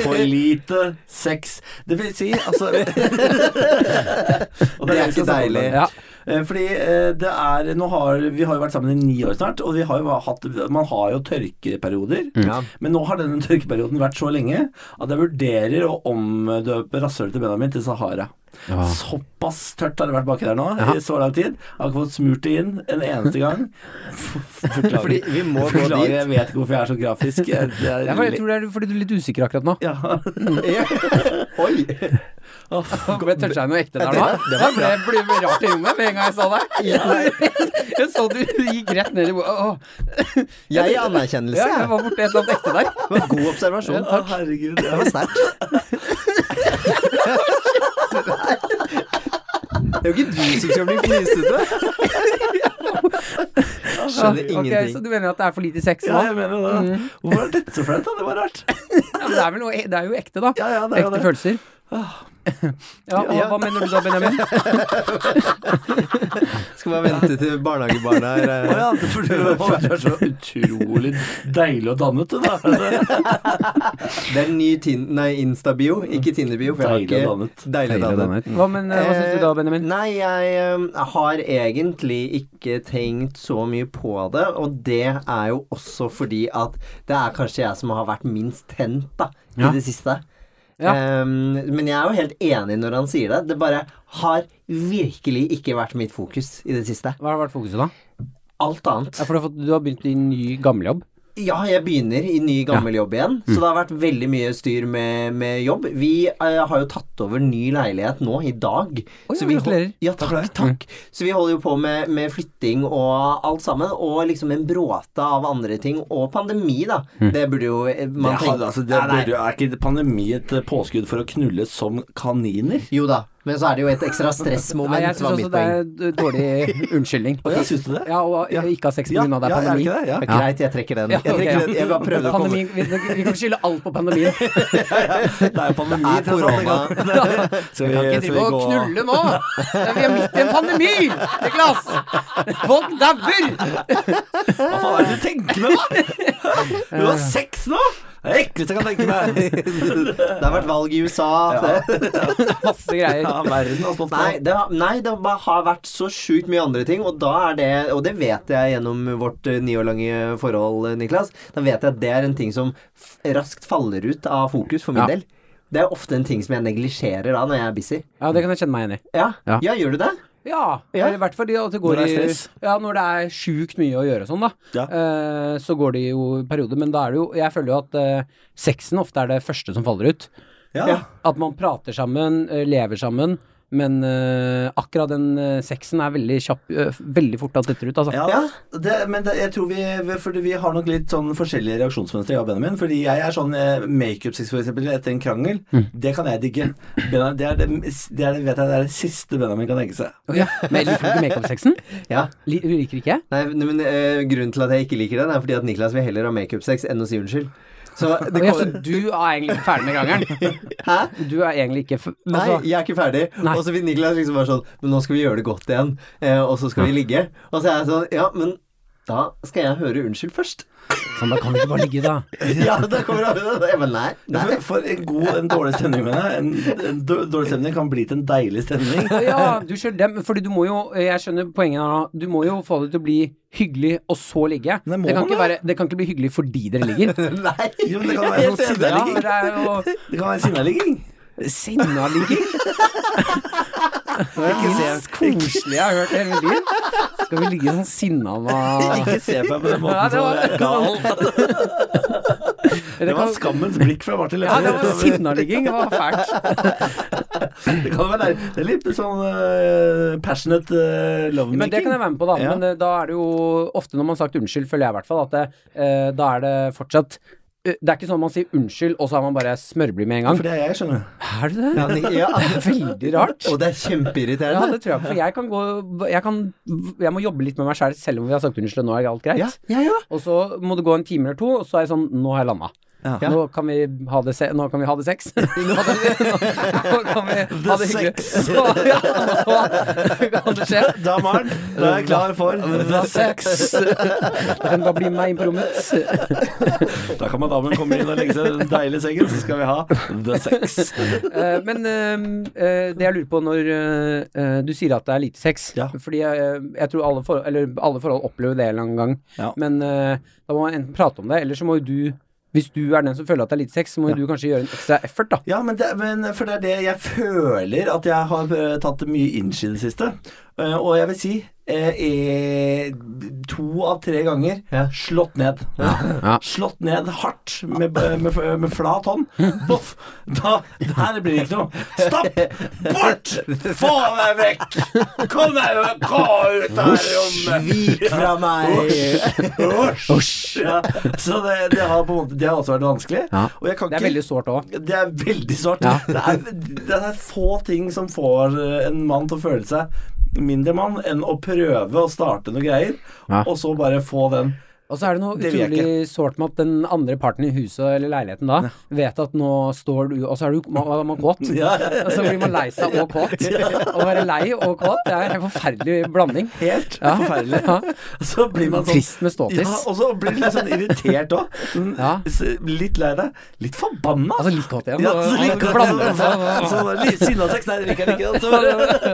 A: for lite sex. Det vil si, altså Og vi
B: Det er
A: skal
B: ikke
A: snakke om
B: deilig.
A: det.
C: Ja.
A: Eh, Fordi eh, det er nå har, Vi har jo vært sammen i ni år snart, og vi har jo hatt, man har jo tørkeperioder.
B: Ja.
A: Men nå har denne tørkeperioden vært så lenge at jeg vurderer å omdøpe rasshølet til Benjamin til Sahara. Såpass tørt har det vært baki der nå i så lang tid. Jeg har ikke fått smurt det inn en eneste gang. F- Forklager.
B: Fordi vi må gå
A: Forklager,
B: dit.
A: Jeg vet ikke hvorfor jeg er så grafisk. Jeg, det er
C: Jeg, bare, jeg tror det er fordi du er litt usikker akkurat nå. [LAUGHS]
A: ja.
B: Oi.
C: Ble toucha noe ekte der nå? Det ble, ble, ble rart i rommet med en gang jeg sa det. Jeg så du gikk rett ned i bordet. Åh.
B: Jeg gir
C: Ja, jeg
B: anerkjennelse.
C: var borti et eller annet ekte der.
B: Det var god observasjon.
A: Å, herregud.
B: Det
A: Ja.
B: var sterkt. Det er jo ikke du som skal bli
C: [LAUGHS]
B: fnisete. Skjønner
C: Ok, så
B: ingenting.
C: du mener at det er for lite sex nå?
A: Ja, jeg mener det.
C: Mm.
A: Hvorfor er dette så flaut, da? Det var rart.
C: Ja, men det, er vel noe, e- det er jo ekte, da.
A: Ja, ja, det er jo
C: ekte
A: det.
C: følelser. Ja, og hva mener du da, Benjamin?
B: Skal bare vente til barnehagebarna er eh,
A: Å ja, for [LAUGHS] du er så utrolig deilig og dannet, [LAUGHS] du, da.
B: Det er en ny tin nei, Insta-bio, ikke Tinder-bio. for jeg
A: Deilig
B: har
A: og
B: ikke- Deilig og dannet.
C: Hva, men, eh, hva syns du da, Benjamin?
B: Eh, Nei, jeg eh, har egentlig ikke tenkt så mye på det. Og det er jo også fordi at det er kanskje jeg som har vært minst tent da, i
C: Ja.
B: det siste.
C: Ja.
B: Eh, men jeg er jo helt enig når han sier det. Det bare har virkelig ikke vært mitt fokus i det siste.
C: Hva har vært fokuset, da?
B: Alt annet.
C: Ja, for du har, fått, du har begynt i ny gamlejobb.
B: Ja, jeg begynner i ny gammel jobb igjen,
C: Mm.
B: så det har vært veldig mye styr med, med jobb. Vi eh, har jo tatt over ny leilighet nå i dag.
C: Oi,
B: så vi hol-
C: gratulerer.
B: ja, takk, takk. Så vi holder jo på med, med flytting og alt sammen, og liksom en bråte av andre ting, og pandemi, da.
C: Mm.
B: Det burde jo eh, man
A: Det har-
B: tenke-
A: altså, det
B: Nei, nei.
A: burde jo- er ikke pandemi et eh, påskudd for å knulle som kaniner?
B: Jo da, men så er det jo et
C: [LAUGHS]
B: ekstra
C: Nei,
B: stressmoment,
C: jeg
B: var
C: syns også
B: mitt
C: det
B: poeng.
C: er d-
A: [LAUGHS]
C: dårlig unnskyldning.
A: Å ja, syns du det?
C: Ja, og
A: Ja.
C: ikke ha sex
A: Ja, ja,
C: pga. det er
A: er
C: pandemi.
A: det ikke det? Ja.
B: Greit, jeg trekker den.
C: Ja,
B: Jeg, trekker
C: ok.
B: den. jeg bare prøvde å komme
C: Pandemi, vi, vi kan skylde alt på
A: [LAUGHS]
C: pandemien.
A: Det er jo pandemi.
B: Er korona.
A: [LAUGHS]
C: [LAUGHS]
A: Skal vi,
C: Kan ikke
A: skal vi
C: drive og
A: gå
C: knulle nå! Vi er midt i en pandemi, Niklas! Folk dauer!
A: Hva faen er det du tenker med, da?
C: [LAUGHS]
A: Du har sex nå? Det er det ekleste jeg kan tenke
C: [LAUGHS]
A: meg.
B: Det har vært valg i USA. Det.
C: Masse
A: Ja,
C: greier.
A: verden har stått på.
B: Nei, det, har- nei, det bare har vært så sjukt mye andre ting, og da er det Og det vet jeg gjennom vårt eh, ni år lange forhold, eh, Niklas. Da vet jeg at det er en ting som f raskt faller ut av fokus for min
C: Ja.
B: del. Det er ofte en ting som jeg neglisjerer da når jeg er busy.
C: Ja, det kan jeg kjenne meg igjen i.
B: Ja,
C: Ja.
B: ja. gjør du det?
C: Ja,
B: Ja.
C: eller i hvert fall de- at det går
A: Når det er
C: i
A: stress.
C: Ja, når det er sjukt mye å gjøre og sånn, da.
A: Ja.
C: Eh, så går det jo i perioder, men da er det jo Jeg føler jo at eh, sexen ofte er det første som faller ut.
A: Ja.
C: At man prater sammen, eh, lever sammen, men eh, akkurat den eh, sexen er veldig kjapp eh, f- Veldig fort at detter ut, altså.
A: Ja, det, men det, jeg tror vi, fordi vi har nok litt sånn forskjellige reaksjonsmønstre, jeg og Benjamin. Fordi jeg er sånn eh, makeup-sex, for eksempel, etter en krangel.
C: Mm.
A: Det kan jeg digge. Benjamin, det, er det, det, er det, vet jeg, det er det siste Benjamin kan tenke seg.
C: Ja. Men liker du ikke makeup-sexen?
B: Ja.
C: Li- Du liker ikke?
B: Nei, men- men eh, grunnen til at jeg ikke liker den, er fordi at Niklas vil heller ha makeup-sex enn å si unnskyld. Så det
C: Å ja, så
B: kommer
C: altså, du er egentlig ikke ferdig med krangelen?
B: Hæ?
C: Du er egentlig ikke f
B: Nei,
C: altså,
B: jeg er ikke ferdig.
C: Nei.
B: Og så vil Niklas liksom være sånn Men nå skal vi gjøre det godt igjen, eh, og så skal vi ligge. Og så er jeg sånn Ja, men da skal jeg høre unnskyld først. [LAUGHS]
C: Sånn, da kan vi ikke bare ligge, da.
B: ja, da kommer han med det. Jeg bare nei.
A: Ja,
B: nei.
A: For, for en god, en dårlig stemning, mener jeg. En, en dår- dårlig stemning kan bli til en deilig stemning.
C: Ja, du skjønner det, men fordi du må jo eh, Jeg skjønner poenget her nå. Du må jo få det til å bli hyggelig, og så ligge.
A: Nei, må
C: det, kan
A: man
C: ikke
A: det?
C: være, det kan ikke bli hyggelig fordi dere
A: [LAUGHS]
C: ligger.
B: nei.
A: Jo, men det kan være sånn
C: Ja, men
A: sinnaligging.
C: det er jo
A: Det kan være sinnaligging.
C: Sinnaligging. Det er det minst koselige jeg har hørt i hele mitt liv. Skal vi ligge sånn sinna
A: Ikke se på meg på den
C: Ja,
A: måten
C: det var-
A: som er gal. Det var
C: kan-
A: skammens blikk fra Martin
C: Ja, det var
A: Lepperød.
C: sinnaligging. Det var fælt.
A: Det kan være der. Det er litt sånn eh, passionate eh, lovemaking.
C: Men det kan jeg være med på, da.
A: Ja.
C: Men eh, da er det jo ofte når man har sagt unnskyld, føler jeg i hvert fall, at det, eh, da er det fortsatt eh, Det er ikke sånn man sier unnskyld, og så er man bare smørblid med en gang.
A: For det er jeg, skjønner du.
C: Er det det?
B: Ja, Nik- ja.
C: [LAUGHS] Det er veldig rart.
B: Og det er
C: Ja,
B: kjempeirriterende.
C: det tror jeg. For jeg kan gå Jeg, kan, jeg må jobbe litt med meg sjæl, selv, om vi har sagt unnskyld, og nå er alt greit. [LAUGHS]
B: Ja, ja, ja.
C: Og så må det gå en time eller to, og så er jeg sånn Nå har jeg landa.
A: Ja.
C: Nå, kan vi ha det se nå kan vi ha
A: [LAUGHS]
C: det sex. nå kan vi, nå kan vi ha det hyggelig.
A: sex.
C: [LAUGHS] Så, ja, nå kan det skje.
A: Da, Maren, da er jeg klar
C: [LAUGHS]
A: for the sex.
C: Da kan du bare bli med meg inn på rommet.
A: Da kan madammen komme inn og legge seg i den deilige sengen, så skal vi ha the sex.
C: Eh, men eh, eh, det jeg lurer på når eh, eh, du sier at det er lite sex
A: Ja.
C: Fordi eh, jeg tror alle forhold, eller alle forhold opplever det en eller annen gang.
A: Ja.
C: Men eh, da må man enten prate om det, eller så må jo du Hvis du er den som føler at det er lite sex, så må jo du kanskje gjøre en ekstra effort, da.
A: Ja, men, det, men for det er det jeg føler at jeg har eh, tatt mye inch i det siste. Eh, og jeg vil si eh, eh, to av tre ganger
B: Ja.
A: slått ned.
C: Ja.
A: Slått ned hardt med, eh, med, med flat hånd. Boff! Da, der blir det ikke noe. Stopp! Bort! Få meg vekk! Kom deg vekk! Gå ut av rommet!
B: Vik fra meg.
A: Hysj! Ja. Så det, det har på en måte Det har også vært vanskelig.
C: Ja.
A: Og jeg kan
C: Det er
A: ikke
C: veldig sårt òg.
A: det er veldig svart.
C: Ja.
A: Det, er, det er få ting som får eh, en mann til å føle seg mindre mann enn å prøve å starte noe greier,
C: Ja.
A: og så bare få den.
C: Og så er det noe
A: Det vil jeg
C: utrolig sårt med at den andre parten i huset eller leiligheten da vet at nå står du Og så er du man, man er kåt.
A: [LAUGHS] Ja, ja,
C: Og så blir man lei seg
A: [LAUGHS]
C: og kåt. Å være lei og kåt det er en forferdelig blanding.
A: helt
C: Ja.
A: forferdelig.
C: Ja.
A: Så blir man sånn
C: Trist med ståtiss.
A: Ja, og så blir du litt sånn irritert òg.
C: Ja.
A: Litt lei deg. Litt forbanna.
C: Altså litt kåt igjen.
A: ja,
C: og-
A: så
C: og
A: liker [LAUGHS]
C: blander seg.
A: Sinna sex, nei, det liker jeg
C: [LAUGHS]
A: ikke. Så, så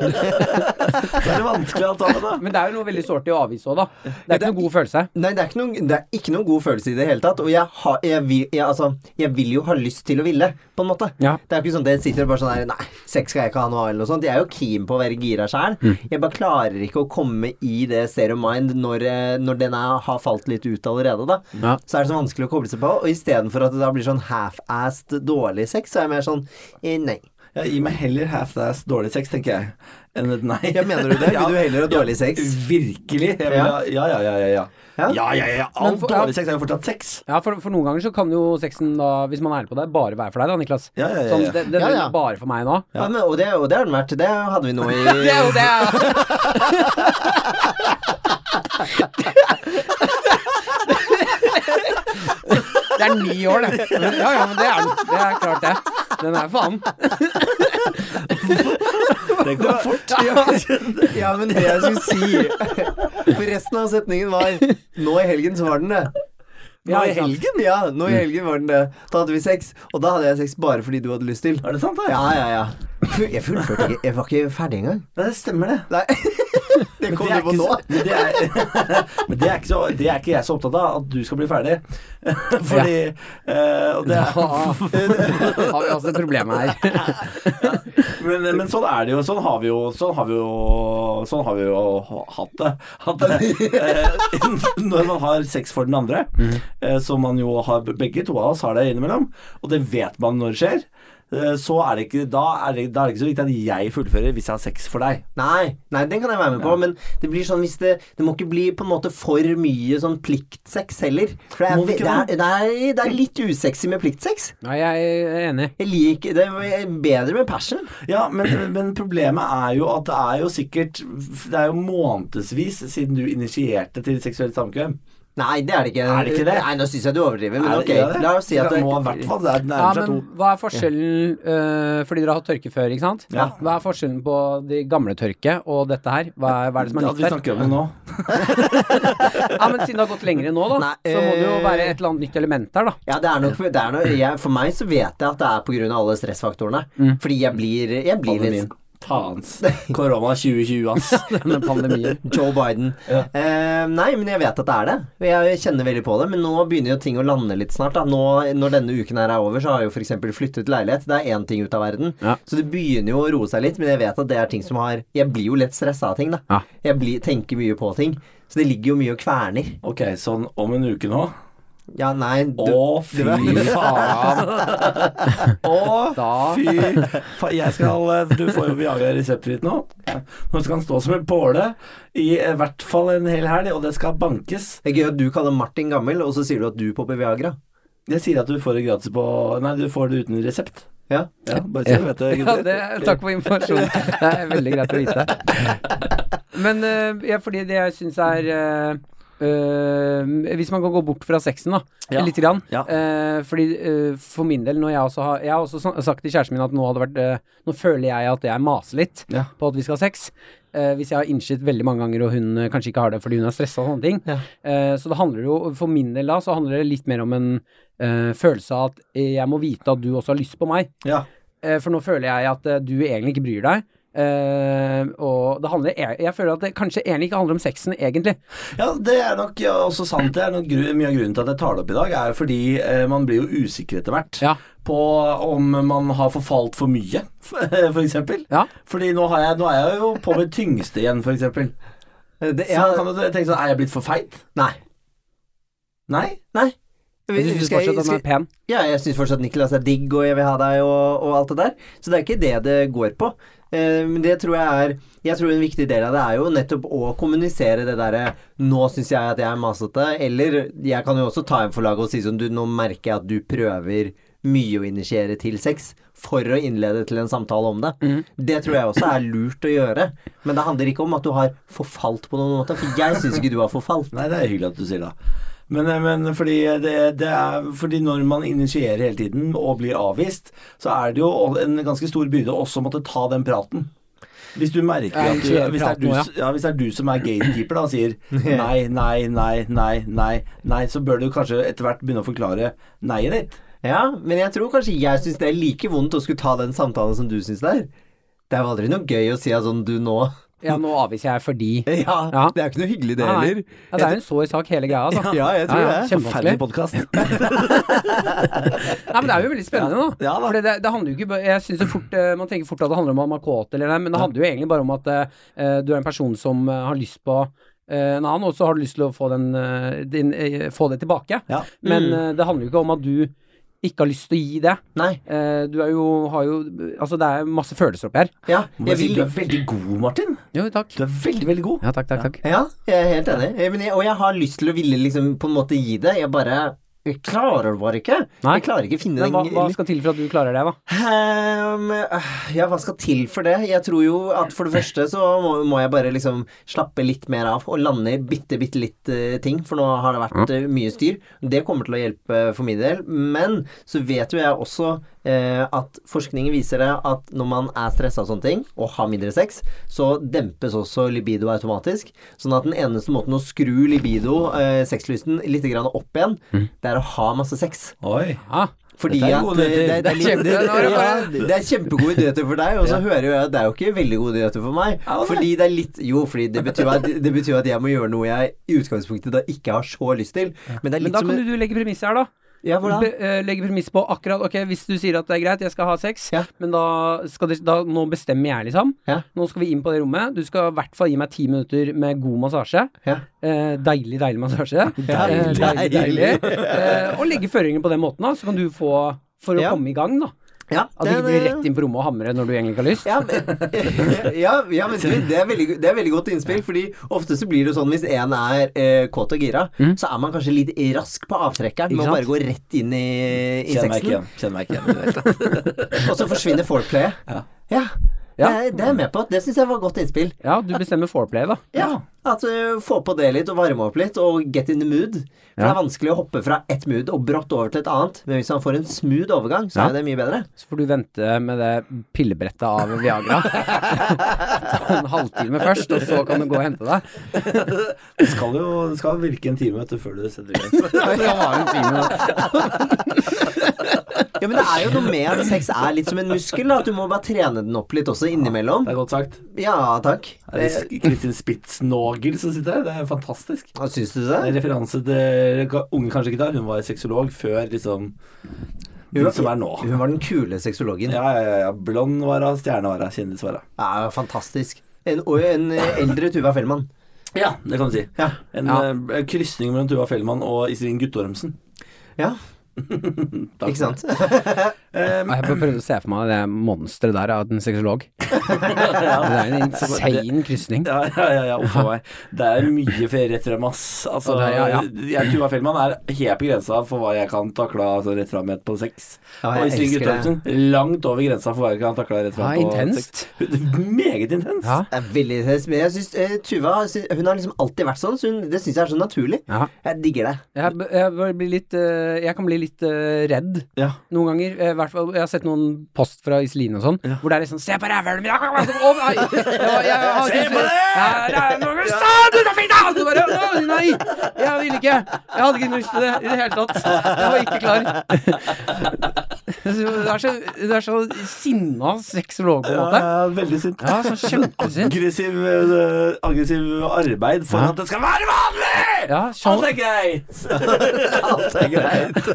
A: altså. er det vanskelig alt sammen, da.
C: Men det er jo noe veldig sårt i å avvise òg, da. Det er ikke noe god følelse.
B: Nei, det er ikke noe noen, det er ikke noen god følelse i det hele tatt. Og jeg, har, jeg, vil, jeg, altså, jeg vil jo ha lyst til å ville, på en måte.
C: Ja.
B: Det er jo ikke sånn at jeg sitter og bare sånn her Nei, sex skal jeg ikke ha noe av, eller noe sånt. Jeg er jo keen på å være gira sjæl.
C: Mm.
B: Jeg bare klarer ikke å komme i det state of mind når, eh, når den er, har falt litt ut allerede, da.
C: Ja.
B: Så er det så vanskelig å koble seg på. Og istedenfor at det da blir sånn half-assed dårlig sex, så er jeg mer sånn eh, Nei.
A: Jeg gir meg heller half-ass dårlig sex, tenker jeg, enn et nei.
B: Ja, mener du
C: [LAUGHS]
B: det? Vil
A: [LAUGHS] Ja.
B: du heller ha dårlig sex?
A: Virkelig. Jeg vil
B: Ja.
A: ha, ja, ja, ja, ja, ja. Ja,
B: Ja?
A: ja, ja, ja.
C: Men
A: All
C: for- ja.
A: dårlig sex er jo fortsatt sex.
C: Ja, for, for noen ganger så kan jo sexen, da, hvis man er ærlig på det, bare være for deg da, Niklas.
A: Ja, ja, ja,
C: Sånn,
A: ja.
C: det, det,
B: Ja, ja.
C: er bare for meg nå.
B: Ja. men, og, det, og det har den vært. Det hadde vi nå i
C: [LAUGHS] Det er jo det! Det er ni år, det. Ja, ja, men det er, den. det er klart, det. Den er faen.
A: Det går fort.
B: Ja, men det jeg skulle si For resten av setningen var Nå i helgen så var den det.
C: Ja,
B: Nå i
C: ikke sant.
B: helgen? Ja, Mm. nå i helgen var den det. Da hadde vi sex, og da hadde jeg sex bare fordi du hadde lyst til.
A: Er det sant, da?
B: Ja, ja, ja. Fu- Jeg fullførte ikke. Jeg var ikke ferdig engang.
A: Nei, det stemmer, det.
B: [LAUGHS] Nei. Det
A: Men
B: kom
A: det
B: du
A: er
B: på
A: ikke
B: nå.
A: så- Men det er, [LAUGHS] men det er, ikke, så, det er ikke jeg så opptatt av, at du skal bli ferdig. [LAUGHS] Fordi eh, og det er, [LAUGHS]
C: Har vi altså et problem her.
A: men, men sånn er det jo. Sånn har vi jo, sånn har vi jo, sånn har vi jo hatt det. Hatt det. Eh, Når man har sex for den andre, eh, som man jo har begge to av oss har det innimellom, og det vet man når det skjer, eh, så er det ikke, da er det, da er det ikke så viktig at jeg fullfører hvis jeg har sex for deg.
B: Nei, nei, den kan jeg være med på, men det blir sånn hvis det Det må ikke bli på en måte for mye sånn pliktsex heller. For det er,
A: Må det ikke
B: det er, det er, det er litt usexy med pliktsex.
C: Nei, jeg er enig.
B: Jeg liker Det er bedre med passion.
A: Ja, men, men problemet er jo at det er jo sikkert Det er jo månedsvis siden du initierte til seksuelt samkvem.
B: Nei, det er det ikke.
A: Er det ikke det?
B: Nei, Nå syns jeg du overdriver, men
A: Er
B: ok.
A: det- er det?
B: La oss si at
A: det
B: det
A: må i hvert fall det er
C: Ja,
A: nærmer seg
C: men
A: to.
C: hva er forskjellen eh, Fordi dere har hatt tørke før, ikke sant?
A: Ja.
C: Hva er forskjellen på de gamle tørke og dette her? Hva er, hva er det som er
A: Ja,
C: nytt
A: vi
C: der?
A: snakker om det nå.
C: Ja, men siden det har gått lengre nå, da,
B: Nei,
C: så må det jo
B: eh,
C: være et eller annet nytt element der, da. [LAUGHS]
B: Ja, det er nok det er noe, jeg, For meg så vet jeg at det er pga. alle stressfaktorene. Fordi jeg blir, jeg blir
A: Mm. Pandemien.
B: litt
A: Faens. Korona 2020, ass. [LAUGHS]
C: Denne pandemien.
B: Joe Biden. Eh, nei, men jeg vet at det er det. Jeg kjenner veldig på det. Men nå begynner jo ting å lande litt snart. Da. Nå, når denne uken her er over, så har jeg jo f.eks. flyttet leilighet. Det er én ting ut av verden.
C: Ja.
B: Så det begynner jo å roe seg litt, men jeg vet at det er ting som har Jeg blir jo lett stressa av ting, da.
C: Ja.
B: Jeg blir, tenker mye på ting. Så det ligger jo mye og kverner.
A: Ok, sånn om en uke nå.
B: Ja, nei du,
A: Å, fy [LAUGHS] faen. Å, fy faen. Jeg skal eh, Du får jo Viagra-reseptfritt nå. Nå skal han stå som en påle i eh, hvert fall en hel helg, og det skal bankes.
B: Det er gøy at du kaller Martin gammel, og så sier du at du popper Viagra.
A: Jeg sier at du får det gratis på Nei, du får det uten resept.
B: Ja.
A: Ja, bare så du vet det,
C: Ja,
A: gutter.
C: det, takk for informasjonen. Det er veldig greit å vite. Men eh, ja, fordi det jeg syns er eh, eh, hvis man kan gå bort fra sexen, da.
A: Ja.
C: Litt. Grann.
A: Ja.
C: Eh, fordi eh, For min del, når jeg også har Jeg har også sa- sagt til kjæresten min at nå hadde vært eh, Nå føler jeg at jeg maser litt
A: Ja.
C: på at vi skal ha sex. Eh, hvis jeg har innsett veldig mange ganger og hun eh, kanskje ikke har det fordi hun er stressa og sånne ting. Eh, så det handler jo For min del da, så handler det litt mer om en eh, følelse av at eh, jeg må vite at du også har lyst på meg.
A: Ja.
C: Eh, For nå føler jeg at eh, du egentlig ikke bryr deg. Eh, og det handler, jeg, jeg føler at det kanskje egentlig ikke handler om sexen, egentlig.
A: ja, det er nok ja, også sant. Det er nok gru, Mye av grunnen til at jeg tar det opp i dag, er jo fordi eh, man blir jo usikker etter hvert
C: Ja.
A: på om man har forfalt for mye, [LAUGHS] for eksempel.
C: Ja.
A: Fordi nå, har jeg, nå er jeg jo på mitt tyngste igjen, for eksempel.
B: Eh, Det,
A: Så
B: ja,
A: kan du tenke sånn, er jeg blitt for feit?
B: nei.
A: Nei?
B: Nei.
C: Du syns
B: Skal jeg-
C: fortsatt at den
B: skal-
C: er pen?
B: Ja, jeg syns fortsatt Niklas er digg, og jeg vil ha deg, og, og alt det der. Så det er ikke det det går på. Eh, Men det tror jeg er Jeg tror en viktig del av det er jo nettopp å kommunisere det derre 'Nå syns jeg at jeg er masete', eller jeg kan jo også ta en for laget og si sånn 'Du, nå merker jeg at du prøver mye å initiere til sex', for å innlede til en samtale om det. Det tror jeg også er lurt å gjøre. Men det handler ikke om at du har forfalt på noen måte, for jeg syns ikke du har forfalt.
A: Nei, det er hyggelig at du sier det. Men, eh, men fordi, det, det er, fordi når man initierer hele tiden og blir avvist, så er det jo en ganske stor byrde også å måtte ta den praten. Hvis du merker
C: Ja,
A: at du,
C: initiere
A: hvis, det er du,
C: praten, ja.
A: ja, hvis det er du som er gatekeeper da, og
B: [LAUGHS]
A: sier nei, nei, nei, nei, nei, nei, så bør du kanskje etter hvert begynne å forklare nei-et ditt.
B: Ja, men jeg tror kanskje jeg syns det er like vondt å skulle ta den samtalen som du syns det er. Det er jo aldri noe gøy å si at sånn du nå [LAUGHS]
C: Ja, nå avviser jeg fordi
A: [LAUGHS]
B: Ja,
C: Ja.
B: det er jo ikke noe hyggelig det
C: Nei, nei.
B: heller.
C: Ja, det er jo en sår sak, hele
A: [LAUGHS]
C: greia, altså.
B: Ja, jeg tror det.
A: Ferdig
C: Kjempevanskelig.
A: podkast.
C: Nei, men det er jo veldig spennende, da.
A: Ja, da.
C: For det, det handler jo ikke bare- Jeg synes det fort eh, Man tenker fort at det handler om at man er kåt eller nei, men det handler jo egentlig bare om at eh, du er en person som eh, har lyst på eh, en annen, og så har du lyst til å få, den, eh, din, eh, få det tilbake.
A: Ja. Mm.
C: Men eh, det handler jo ikke om at du ikke har lyst til å gi det.
B: Nei.
C: Eh, du er jo, har jo Altså, det er masse følelser oppi her.
B: Ja,
A: Må jeg
B: jeg
A: si, du
B: vil
A: er veldig god, Martin.
C: Jo, takk.
A: Du er veldig, veldig god.
C: Ja, takk, takk, takk.
B: Ja, jeg er helt enig. Eh, Men jeg, og jeg har lyst til å ville liksom på en måte gi det. Jeg bare jeg klarer det bare ikke.
C: Nei.
B: Jeg klarer ikke finne
C: Men hva,
B: den
C: hva skal til for at du klarer det, da?
B: Ehm, øh, Ja, hva skal til for det? Jeg tror jo at for det første så må, må jeg bare liksom slappe litt mer av og lande i bitte, bitte litt eh, ting, for nå har det vært eh, mye styr. Det kommer til å hjelpe for min del. Men så vet jo jeg også eh, at forskningen viser det at når man er stressa av sånne ting, og har mindre sex, så dempes også libido automatisk. Sånn at den eneste måten å skru libido, eh, sexlysten, litt grann opp igjen, det er å ha masse sex.
A: Oi.
C: Ah,
B: Fordi
A: Dette er
B: at eh,
A: gode
B: det,
A: nyheter.
B: det, det, er litt-
C: Kjempe-
B: det,
C: Nå er det
B: ja,
C: bare-
B: det er kjempegode nyheter for deg, og så hører jo jeg at det er jo ikke veldig gode nyheter for meg.
A: Er det det?
B: Fordi det er litt Jo, fordi det betyr, at, det betyr at jeg må gjøre noe jeg i utgangspunktet da ikke har så lyst til. Men det er
C: men
B: litt
C: da
B: som
C: kan
B: en-
C: du legge premisset her, da.
B: Ja, hvordan?
C: Be, eh, legge premiss på akkurat Ok, hvis du sier at det er greit, jeg skal ha sex,
B: Ja.
C: men da, skal det, da Nå bestemmer jeg, liksom.
B: Ja.
C: Nå skal vi inn på det rommet. Du skal i hvert fall gi meg ti minutter med god massasje.
B: Ja.
C: Eh, deilig, deilig
B: [LAUGHS]
C: massasje. Eh,
A: Deilig.
C: deilig, deilig. eh, og legge føringer på den måten, da. Så kan du få For å
B: Ja.
C: komme i gang, da.
B: Ja,
C: At du ikke blir rett inn på rommet og hamre når du egentlig ikke har lyst.
B: ja, men, [LAUGHS] ja, ja, men det, det, er veldig, det er veldig godt innspill, Fordi ofte så blir det sånn hvis en er eh, kåt og gira, så er man kanskje litt rask på avtrekkeren med å
C: Ikke sant?
B: bare gå rett inn i, i
A: Kjenner meg ikke
B: sexen.
A: igjen. Kjenner meg ikke igjen.
B: Og så forsvinner foreplayet. Ja. Det,
C: Ja.
B: er- det er jeg med på. Det syns jeg var godt innspill.
C: Ja, du bestemmer foreplay, da.
B: Ja, At uh, Få på det litt og varme opp litt, og get in the mood. For Det er vanskelig å hoppe fra ett mood og brått over til et annet, men hvis man får en smooth overgang, så
C: Ja.
B: er jo det mye bedre.
C: Så får du vente med det pillebrettet av Viagra. Ta en halvtime først, og så kan du gå og hente deg.
A: Det skal jo det skal virke en time vet du, før du setter i
C: [LAUGHS]
A: gang.
B: Ja, Men det er jo noe med at sex er litt som en muskel, da. At du må bare trene den opp litt også innimellom.
A: Det er godt sagt.
B: Ja, takk. Eh,
A: Er det Sk- Kristin Spitznagel som sitter her? Det er fantastisk.
B: Hva syns du
A: Det er
B: det?
A: en referanse til ka- unge kanskje ikke tar. Hun var sexolog før liksom de som er nå.
B: Hun var den kule sexologen.
A: Ja, ja, ja. ja. Blond var hun, stjerne var hun, kjendis var hun.
B: Ja, fantastisk. En, og en eh, eldre Tuva Fellmann.
A: Ja, det kan du si.
B: Ja.
A: En
C: Ja.
A: eh, krysning mellom Tuva Fellmann og Iselin Guttormsen.
B: Ja,
A: Takk.
B: ikke sant?
C: Ja, Jeg bare prøvde å se for meg det monsteret der av en sexolog. Det er en insane krysning.
A: Ja, ja, ja, ja uff a meg. Det er mye fe- rett frem, ass. Altså,
C: Og det er- ja, ja.
A: jeg- Tuva Fellmann er helt på grensa for hva jeg kan takle av sånn rett framhet på sex.
B: Ja, jeg
A: og Iselin
B: elsker det.
A: Guttormsen langt over grensa for hva jeg kan takle rett
C: Ja,
A: fram på
C: intenst.
A: sex. Meget intenst.
C: Ja.
B: Det er veldig intenst, men jeg synes, eh, Tuva har- hun har liksom alltid vært sånn, så hun, det syns jeg er så naturlig.
C: Ja.
B: Jeg digger det.
C: Jeg, b- jeg, bare blir litt, eh, jeg kan bli litt eh, redd
A: Ja.
C: noen ganger. Eh, hvert fall- jeg har sett noen post fra Iselin og sånn, hvor det er liksom 'Se på rævhølet mitt!'
A: [LAUGHS] Se
C: [LAUGHS]
A: på det!
C: det! Du bare «Å, Nei! Jeg ville ikke. Jeg hadde ikke lyst til det i det hele tatt. Jeg var ikke klar. [LAUGHS] Så Det er så, det er så sinna sexolog, på en måte.
A: Ja, veldig sint.
C: Ja, så kjempesint.
A: Aggressiv, eh, aggressiv arbeid for
C: Ja.
A: at det skal være vanlig!
C: Ja,
A: Alt
C: sånn.
A: er
C: [LAUGHS]
A: greit! Alt er greit.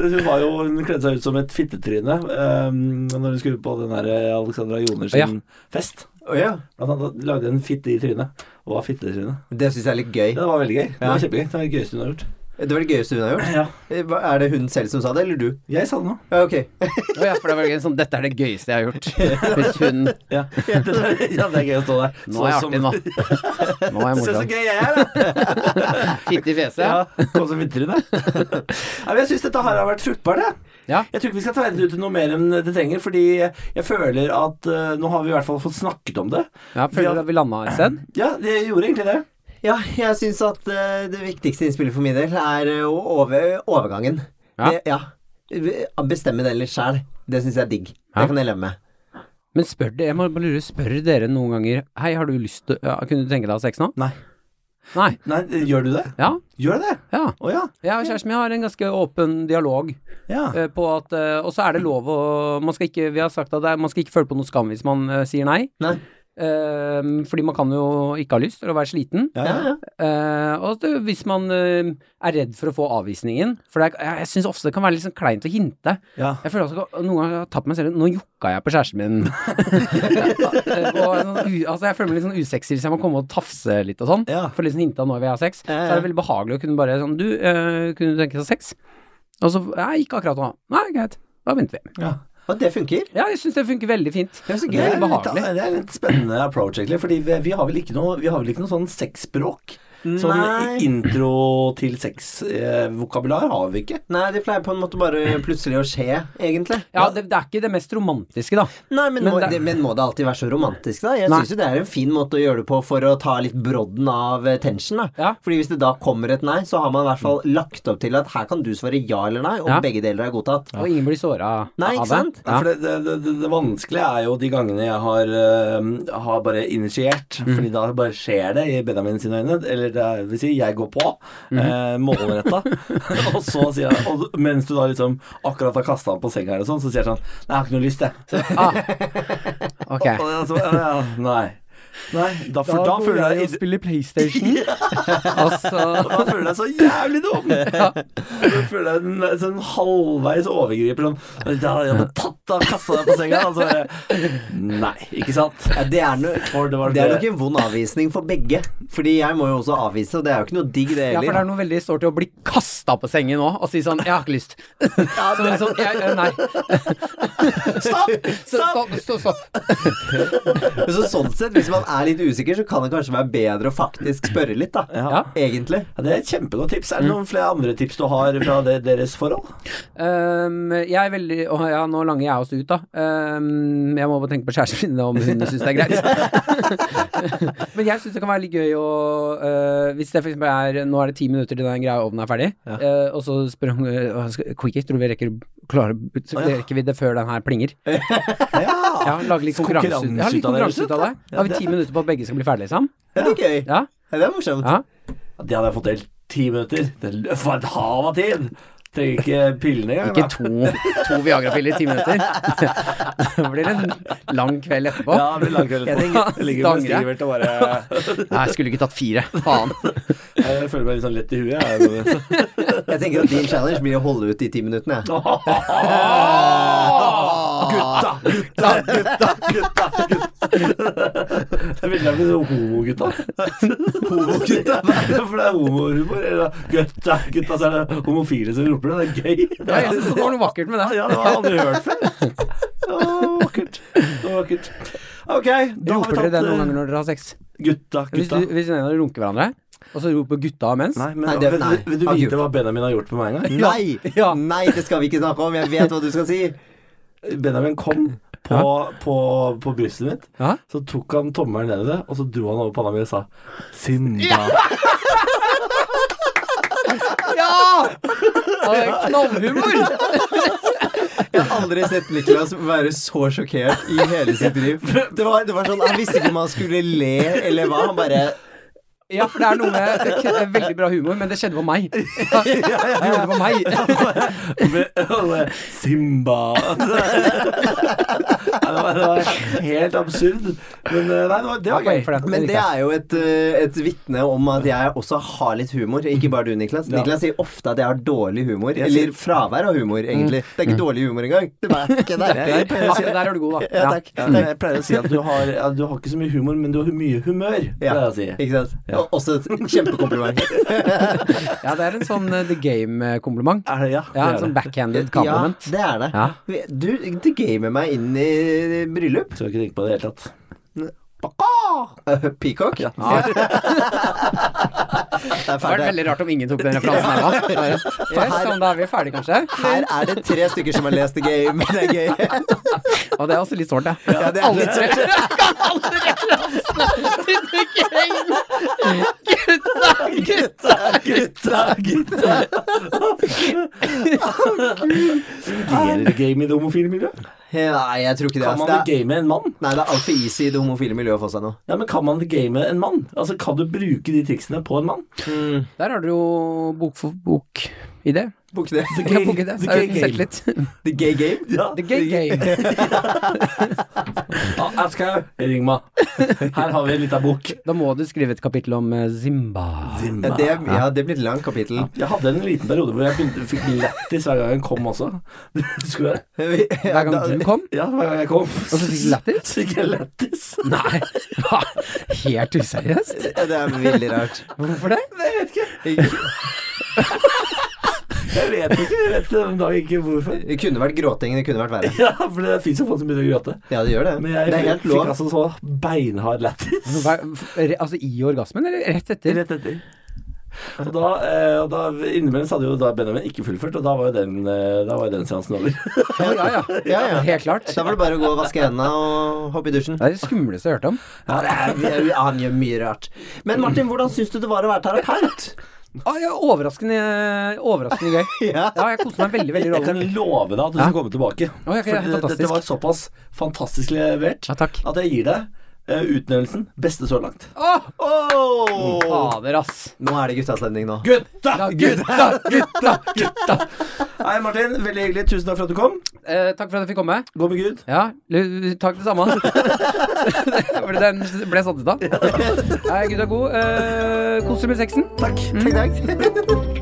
A: hun, var jo, hun kledde seg ut som et fittetryne um, når hun skulle på den der Alexandra Jonersen-fest. Blant annet lagde hun en fitte i trynet, og var fittetryne.
B: Det syns jeg er litt gøy.
A: Ja, det var veldig gøy. Det
B: Ja.
A: var kjempegøy. Det var det gøyeste hun har gjort.
B: Det var det gøyeste hun har gjort.
A: Ja.
B: Eh, hva- Er det hun selv som sa det, eller du?
A: Jeg sa det nå.
B: Ja, ok. [LAUGHS]
C: Å ja, for det var ikke en sånn 'Dette er det gøyeste jeg har gjort'. Hvis hun
A: Ja. ja, [LAUGHS] det er gøy å stå der.
C: Nå er jeg
A: Sånn
C: artig, nå.
A: som- [LAUGHS]
C: Nå er jeg
A: Se så
C: morsom.
A: gøy jeg er, da!
C: Fitte i fjeset.
A: Ja, [LAUGHS]
C: Ja.
A: kom som vinterinn, da. Nei, men Jeg syns dette her har vært fruktbart, jeg.
C: Ja.
A: Jeg tror ikke vi skal tegne det ut til noe mer enn det trenger, fordi jeg føler at eh, nå har vi i hvert fall fått snakket om det.
C: føler du at vi landa et sted?
A: Ja, jeg gjorde egentlig det.
B: Ja, jeg syns at eh, det viktigste innspillet for min del er eh, å over, overgangen.
C: Ja.
B: Det, ja. Eh, Bestemme det litt sjæl. Det syns jeg er digg.
C: Ja.
B: Det kan jeg leve med.
C: Men spør dere, jeg må bare lure, spør dere noen ganger Hei, har du lyst til ja, Kunne du tenke deg å ha sex nå?
A: Nei.
C: Nei.
A: Nei, gjør du det?
C: Ja.
A: Gjør du det?
C: ja.
A: Å ja.
C: Jeg og kjæresten min har en ganske åpen dialog
A: ja.
C: eh, på at eh, Og så er det lov å man skal ikke, Vi har sagt at det er, man skal ikke føle på noe skam hvis man eh, sier nei.
B: Nei.
C: Eh, fordi man kan jo ikke ha lyst til å være sliten.
A: Ja, ja.
C: Eh, og det, hvis man eh, er redd for å få avvisningen For det er, jeg, jeg syns ofte det kan være litt sånn kleint å hinte.
A: Ja.
C: Jeg føler også, Noen ganger har jeg tatt meg selv Nå jukka jeg på kjæresten min. [LAUGHS] Eh, og en sånn, u, altså, jeg føler meg litt sånn usexy hvis jeg må komme og tafse litt og sånn.
A: Ja.
C: For liksom hinta når vi har sex. Så er det veldig behagelig å kunne bare sånn Du, eh, kunne du tenke deg sex? Og så Nei, ikke akkurat nå. Nei, greit. Da venter vi.
B: Og det funker.
C: Ja, jeg syns det funker veldig fint.
B: Det er så
A: Det
B: gøy.
A: er, litt,
C: behagelig.
A: det er litt spennende approach, egentlig. Fordi vi, vi, har vel ikke noe, vi har vel ikke noe sånn sexspråk? Sånn
B: Nei.
A: intro til sex-vokabular har vi ikke.
B: Nei, det pleier på en måte bare plutselig å skje, egentlig.
C: Ja, det, det er ikke det mest romantiske, da.
B: Nei, men,
C: Men
B: må,
C: det-
B: det, men må det alltid være så romantisk, da? Jeg
C: Nei.
B: syns jo det er en fin måte å gjøre det på for å ta litt brodden av eh, tension, da.
C: Ja.
B: Fordi hvis det da kommer et nei, så har man i hvert fall lagt opp til at her kan du svare Mm. ja eller nei, og
C: Ja.
B: begge deler er godtatt.
C: Og ingen blir såra av det.
B: Nei, ikke sant?
A: For det, det, det, det, det vanskelige er jo de gangene jeg har, eh, har bare initiert. Fordi da bare skjer det i Benjamin sine øyne. Eller det er- vil si, jeg går på, eh, målretta. [LAUGHS] og så sier jeg og Mens du da liksom akkurat har kasta han på senga, eller sånn, så sier jeg sånn Nei, jeg har ikke noe lyst, jeg.
C: Ah. Ok.
A: Og jeg så, ja, ja, nei. nei. Da, for da, føler jeg
C: spille [LAUGHS] PlayStation. altså
A: [LAUGHS] Da føler jeg deg så jævlig
B: [LAUGHS]
A: dum! Da føler jeg en sånn halvveis overgriper. Sånn, da hadde jeg bare tatt deg og kasta deg på senga. Og så bare Nei, ikke sant?
B: Ja, det er no
A: For det var
B: det er nok en vond avvisning for begge. Fordi jeg må jo også avvise, og det er jo ikke noe digg, det
C: Ja, for det
B: heller.
C: er noe veldig stort i å bli kasta på sengen nå og si sånn 'Jeg har ikke [LAUGHS] lyst'. Som en sånn, jeg, jeg- nei.
A: Stopp!
C: Så, [LAUGHS] stopp, stopp, stopp.
B: Men så sånn sett, hvis man er litt usikker, så kan det kanskje være bedre å faktisk spørre litt, da.
C: Ja.
B: Egentlig.
A: Ja, det er et kjempegodt tips. Er det noen flere andre tips du har fra det, deres forhold?
C: Ehm, jeg er veldig Å ja, nå langer jeg også ut, da. Ehm, jeg må bare tenke på kjæresten min, om hun syns det er greit. [LAUGHS] Men jeg syns det kan være litt gøy å eh, Hvis det for eksempel er Nå er det ti minutter til den greia i ovnen er ferdig, eh, og så spør hun uh, Quickie, tror du vi rekker å klare Rekker vi det før den her plinger?
A: Ja.
C: Ja, lage litt konkurranse, ut- ja, litt konkurranse ut av det. Da har vi ti minutter på at begge skal bli ferdige sammen.
B: Ja. Det er gøy.
C: Ja,
B: Ja, det er morsomt.
C: ja.
A: Det hadde jeg fått til. Ti minutter. Det var et hav av tid! Trenger ikke pillene engang.
C: Ikke
A: da.
C: to, to Viagra-piller i ti minutter. [LAUGHS] Det blir en lang kveld etterpå.
A: Ja, det blir lang kveld etterpå.
C: tenker-
A: Jeg ligger med
C: Stanger jeg.
A: stivert og bare
C: Nei, jeg skulle ikke tatt fire. Faen.
A: Jeg føler meg litt sånn lett i huet. Jeg.
C: [LAUGHS]
B: Jeg tenker at din challenge blir å holde ut de ti minuttene, jeg.
A: Gutta, gutta, gutta, gutta, gutta. Jeg vil gjerne bli sånn homogutta. [LAUGHS] Homogutta? For det er homohumor. eller Gutta, gutta, så er det homofile som roper det. Det er gøy.
C: Ja, jeg synes det var noe vakkert med det.
A: Ja, det har jeg aldri hørt før. Å, vakkert. Å, vakkert. Ok, da har
C: Roper
A: vi
C: dere det
A: tatt
C: noen
A: eh,
C: ganger når dere har sex?
A: gutta,
C: Hvis,
A: gutta.
C: du, hvis en av dere runker hverandre, og så roper gutta mens?
A: Nei, men
B: Nei, det-
A: vil-
B: nei.
A: Vil du
B: Har
A: vite
B: gjort.
A: hva Benjamin har gjort med meg en gang?
B: Nei!
C: Ja.
B: Nei, det skal vi ikke snakke om. Jeg vet hva du skal si.
A: Benjamin kom på, på, på brystet mitt,
C: Ja.
A: så tok han tommelen ned i det, og så dro han over panna mi og sa Simba.
C: Ja! Og det er Knallhumor!
B: Jeg har aldri sett Niklas være så sjokkert i hele sitt liv. [LAUGHS] Det var, det var sånn, Han visste ikke om han skulle le eller hva. Han bare
C: Ja, for det er noe med det er k- veldig bra humor, men det skjedde på
A: [LAUGHS]
C: meg. Ja, det gjorde det på meg.
A: Og det, Simba.
B: [LAUGHS]
A: Nei, [LAUGHS] det, var, det var helt absurd. Men eh, nei, det var, det var
C: Poeng
A: gøy.
C: for den.
B: Men det
C: likte jeg.
B: er jo et, eh, et vitne om at jeg også har litt humor. Ikke bare du, Niklas. Niklas sier ofte at jeg har dårlig humor. Eller fravær av humor, egentlig.
A: Mm.
B: Det er ikke dårlig humor engang. Det er ikke det.
A: Jeg pleier å si,
C: Akkurat der er du god, da.
B: Ja,
C: Ja.
B: takk.
A: ja, Mm. jeg pleier å si at du har, ja, du har ikke så mye humor, men du har mye humør.
B: Ja,
A: Pleier jeg å si.
B: ikke sant?
A: Ja.
B: Og- Også et kjempekompliment.
C: ja, det er en sånn eh, The Game-kompliment.
A: Er det, ja, det
C: Ja,
A: er
C: en sånn
A: det.
C: backhanded compliment.
B: Ja, det er det.
C: Ja.
B: Du, du gamer meg inn i bryllup. [LAUGHS]
A: Skal ikke tenke på det i det hele tatt.
B: Eh, Peacock? Ja. Det er
C: Det var
B: ferdig.
C: veldig rart om ingen tok den referansen her nå. Yes, sånn, da er vi ferdige, kanskje.
B: Her er det tre stykker som har lest The Game. Det er gøy.
C: Og det er også litt sårt, ja.
B: Ja, det er
C: Alle
B: litt [LAUGHS]
C: tre. Alle referansene til The Game. Gutta, gutta.
A: Gutta, gutta! Fungerer game i det homofile miljøet?
B: Nei, jeg tror ikke det.
A: Kan
B: Altså.
A: man
B: Det er,
A: game en mann?
B: nei, det er altfor easy i det homofile miljøet å få seg noe.
A: Ja, men Kan man game en mann? Altså, Mm. Kan du bruke de triksene på en mann?
C: Der har du jo bok for bok i det.
B: Bok det.
A: The
C: Jeg
A: gay-
C: booket det,
A: the
C: så har
A: gay
C: jeg sett
A: game.
C: litt.
B: The gay game.
A: Ja.
C: The gay game.
A: Ah, Aschhaug, ring meg. Her har vi en liten bok.
C: Da må du skrive et kapittel om eh, Zimba.
B: Ja, det, ja, det blir et langt kapittel.
A: Jeg hadde en liten periode hvor jeg begynte, fikk lættis hver gang jeg kom også. [LAUGHS] Husker du det?
C: Hver gang du kom?
A: Ja, hver gang jeg kom. Og
C: så fikk du
A: [LAUGHS]
C: lættis?
A: Fikk jeg lættis.
C: Nei, hva? helt useriøst?
B: Ja, Det er veldig rart.
C: Hvorfor det?
A: Jeg vet ikke. Jeg vet ikke. Jeg vet den dag ikke hvorfor. [LAUGHS]
B: Det kunne vært gråting, det kunne vært verre.
A: Ja, for det fins jo folk som begynner å gråte.
B: Ja, det gjør det.
A: Men jeg
B: Det er
A: fikk,
B: helt lov.
A: altså så beinhard lættis.
C: Hva- re- Altså i orgasmen, eller rett etter?
A: Rett etter. Og da, eh, og da Innimellom så hadde jo da Benjamin ikke fullført, og da var jo den, eh, da var jo den seansen over. [LAUGHS]
C: Ja, ja, ja.
B: Ja, ja.
C: Helt klart.
B: Da var det bare å gå og vaske hendene og hoppe i dusjen.
C: Det er det skumleste jeg har hørt om.
B: Ja, det er, det er- han gjør mye rart. Men Martin, hvordan syns du det var å være terapeut?
C: Ah, ja, overraskende, overraskende gøy.
B: [LAUGHS] Ja.
C: Ja, jeg koste meg veldig, veldig i
A: Jeg kan
C: rollen.
A: love deg at du skal komme tilbake.
C: Å,
A: For
C: jeg kan-
A: det,
C: fantastisk.
A: dette var såpass fantastisk levert
C: Ja, takk.
A: at jeg gir deg eh, utnevnelsen beste så langt.
C: Å,
A: Mm.
B: Åh!
C: fader, ass.
B: Nå er det guttastemning nå.
A: Gutta!
C: Ja,
A: Gutta!
C: gutta, gutta, gutta.
A: Hei, Martin. Veldig hyggelig. Tusen takk for at du kom.
C: Eh, takk for at jeg fikk komme.
A: Gå med Gud.
C: Ja, l- takk det
B: [LAUGHS]
C: samme. [LAUGHS] Fordi den ble satt ut av. Nei, Gud er god. Eh, Kos deg med sexen.
B: Takk. takk, takk.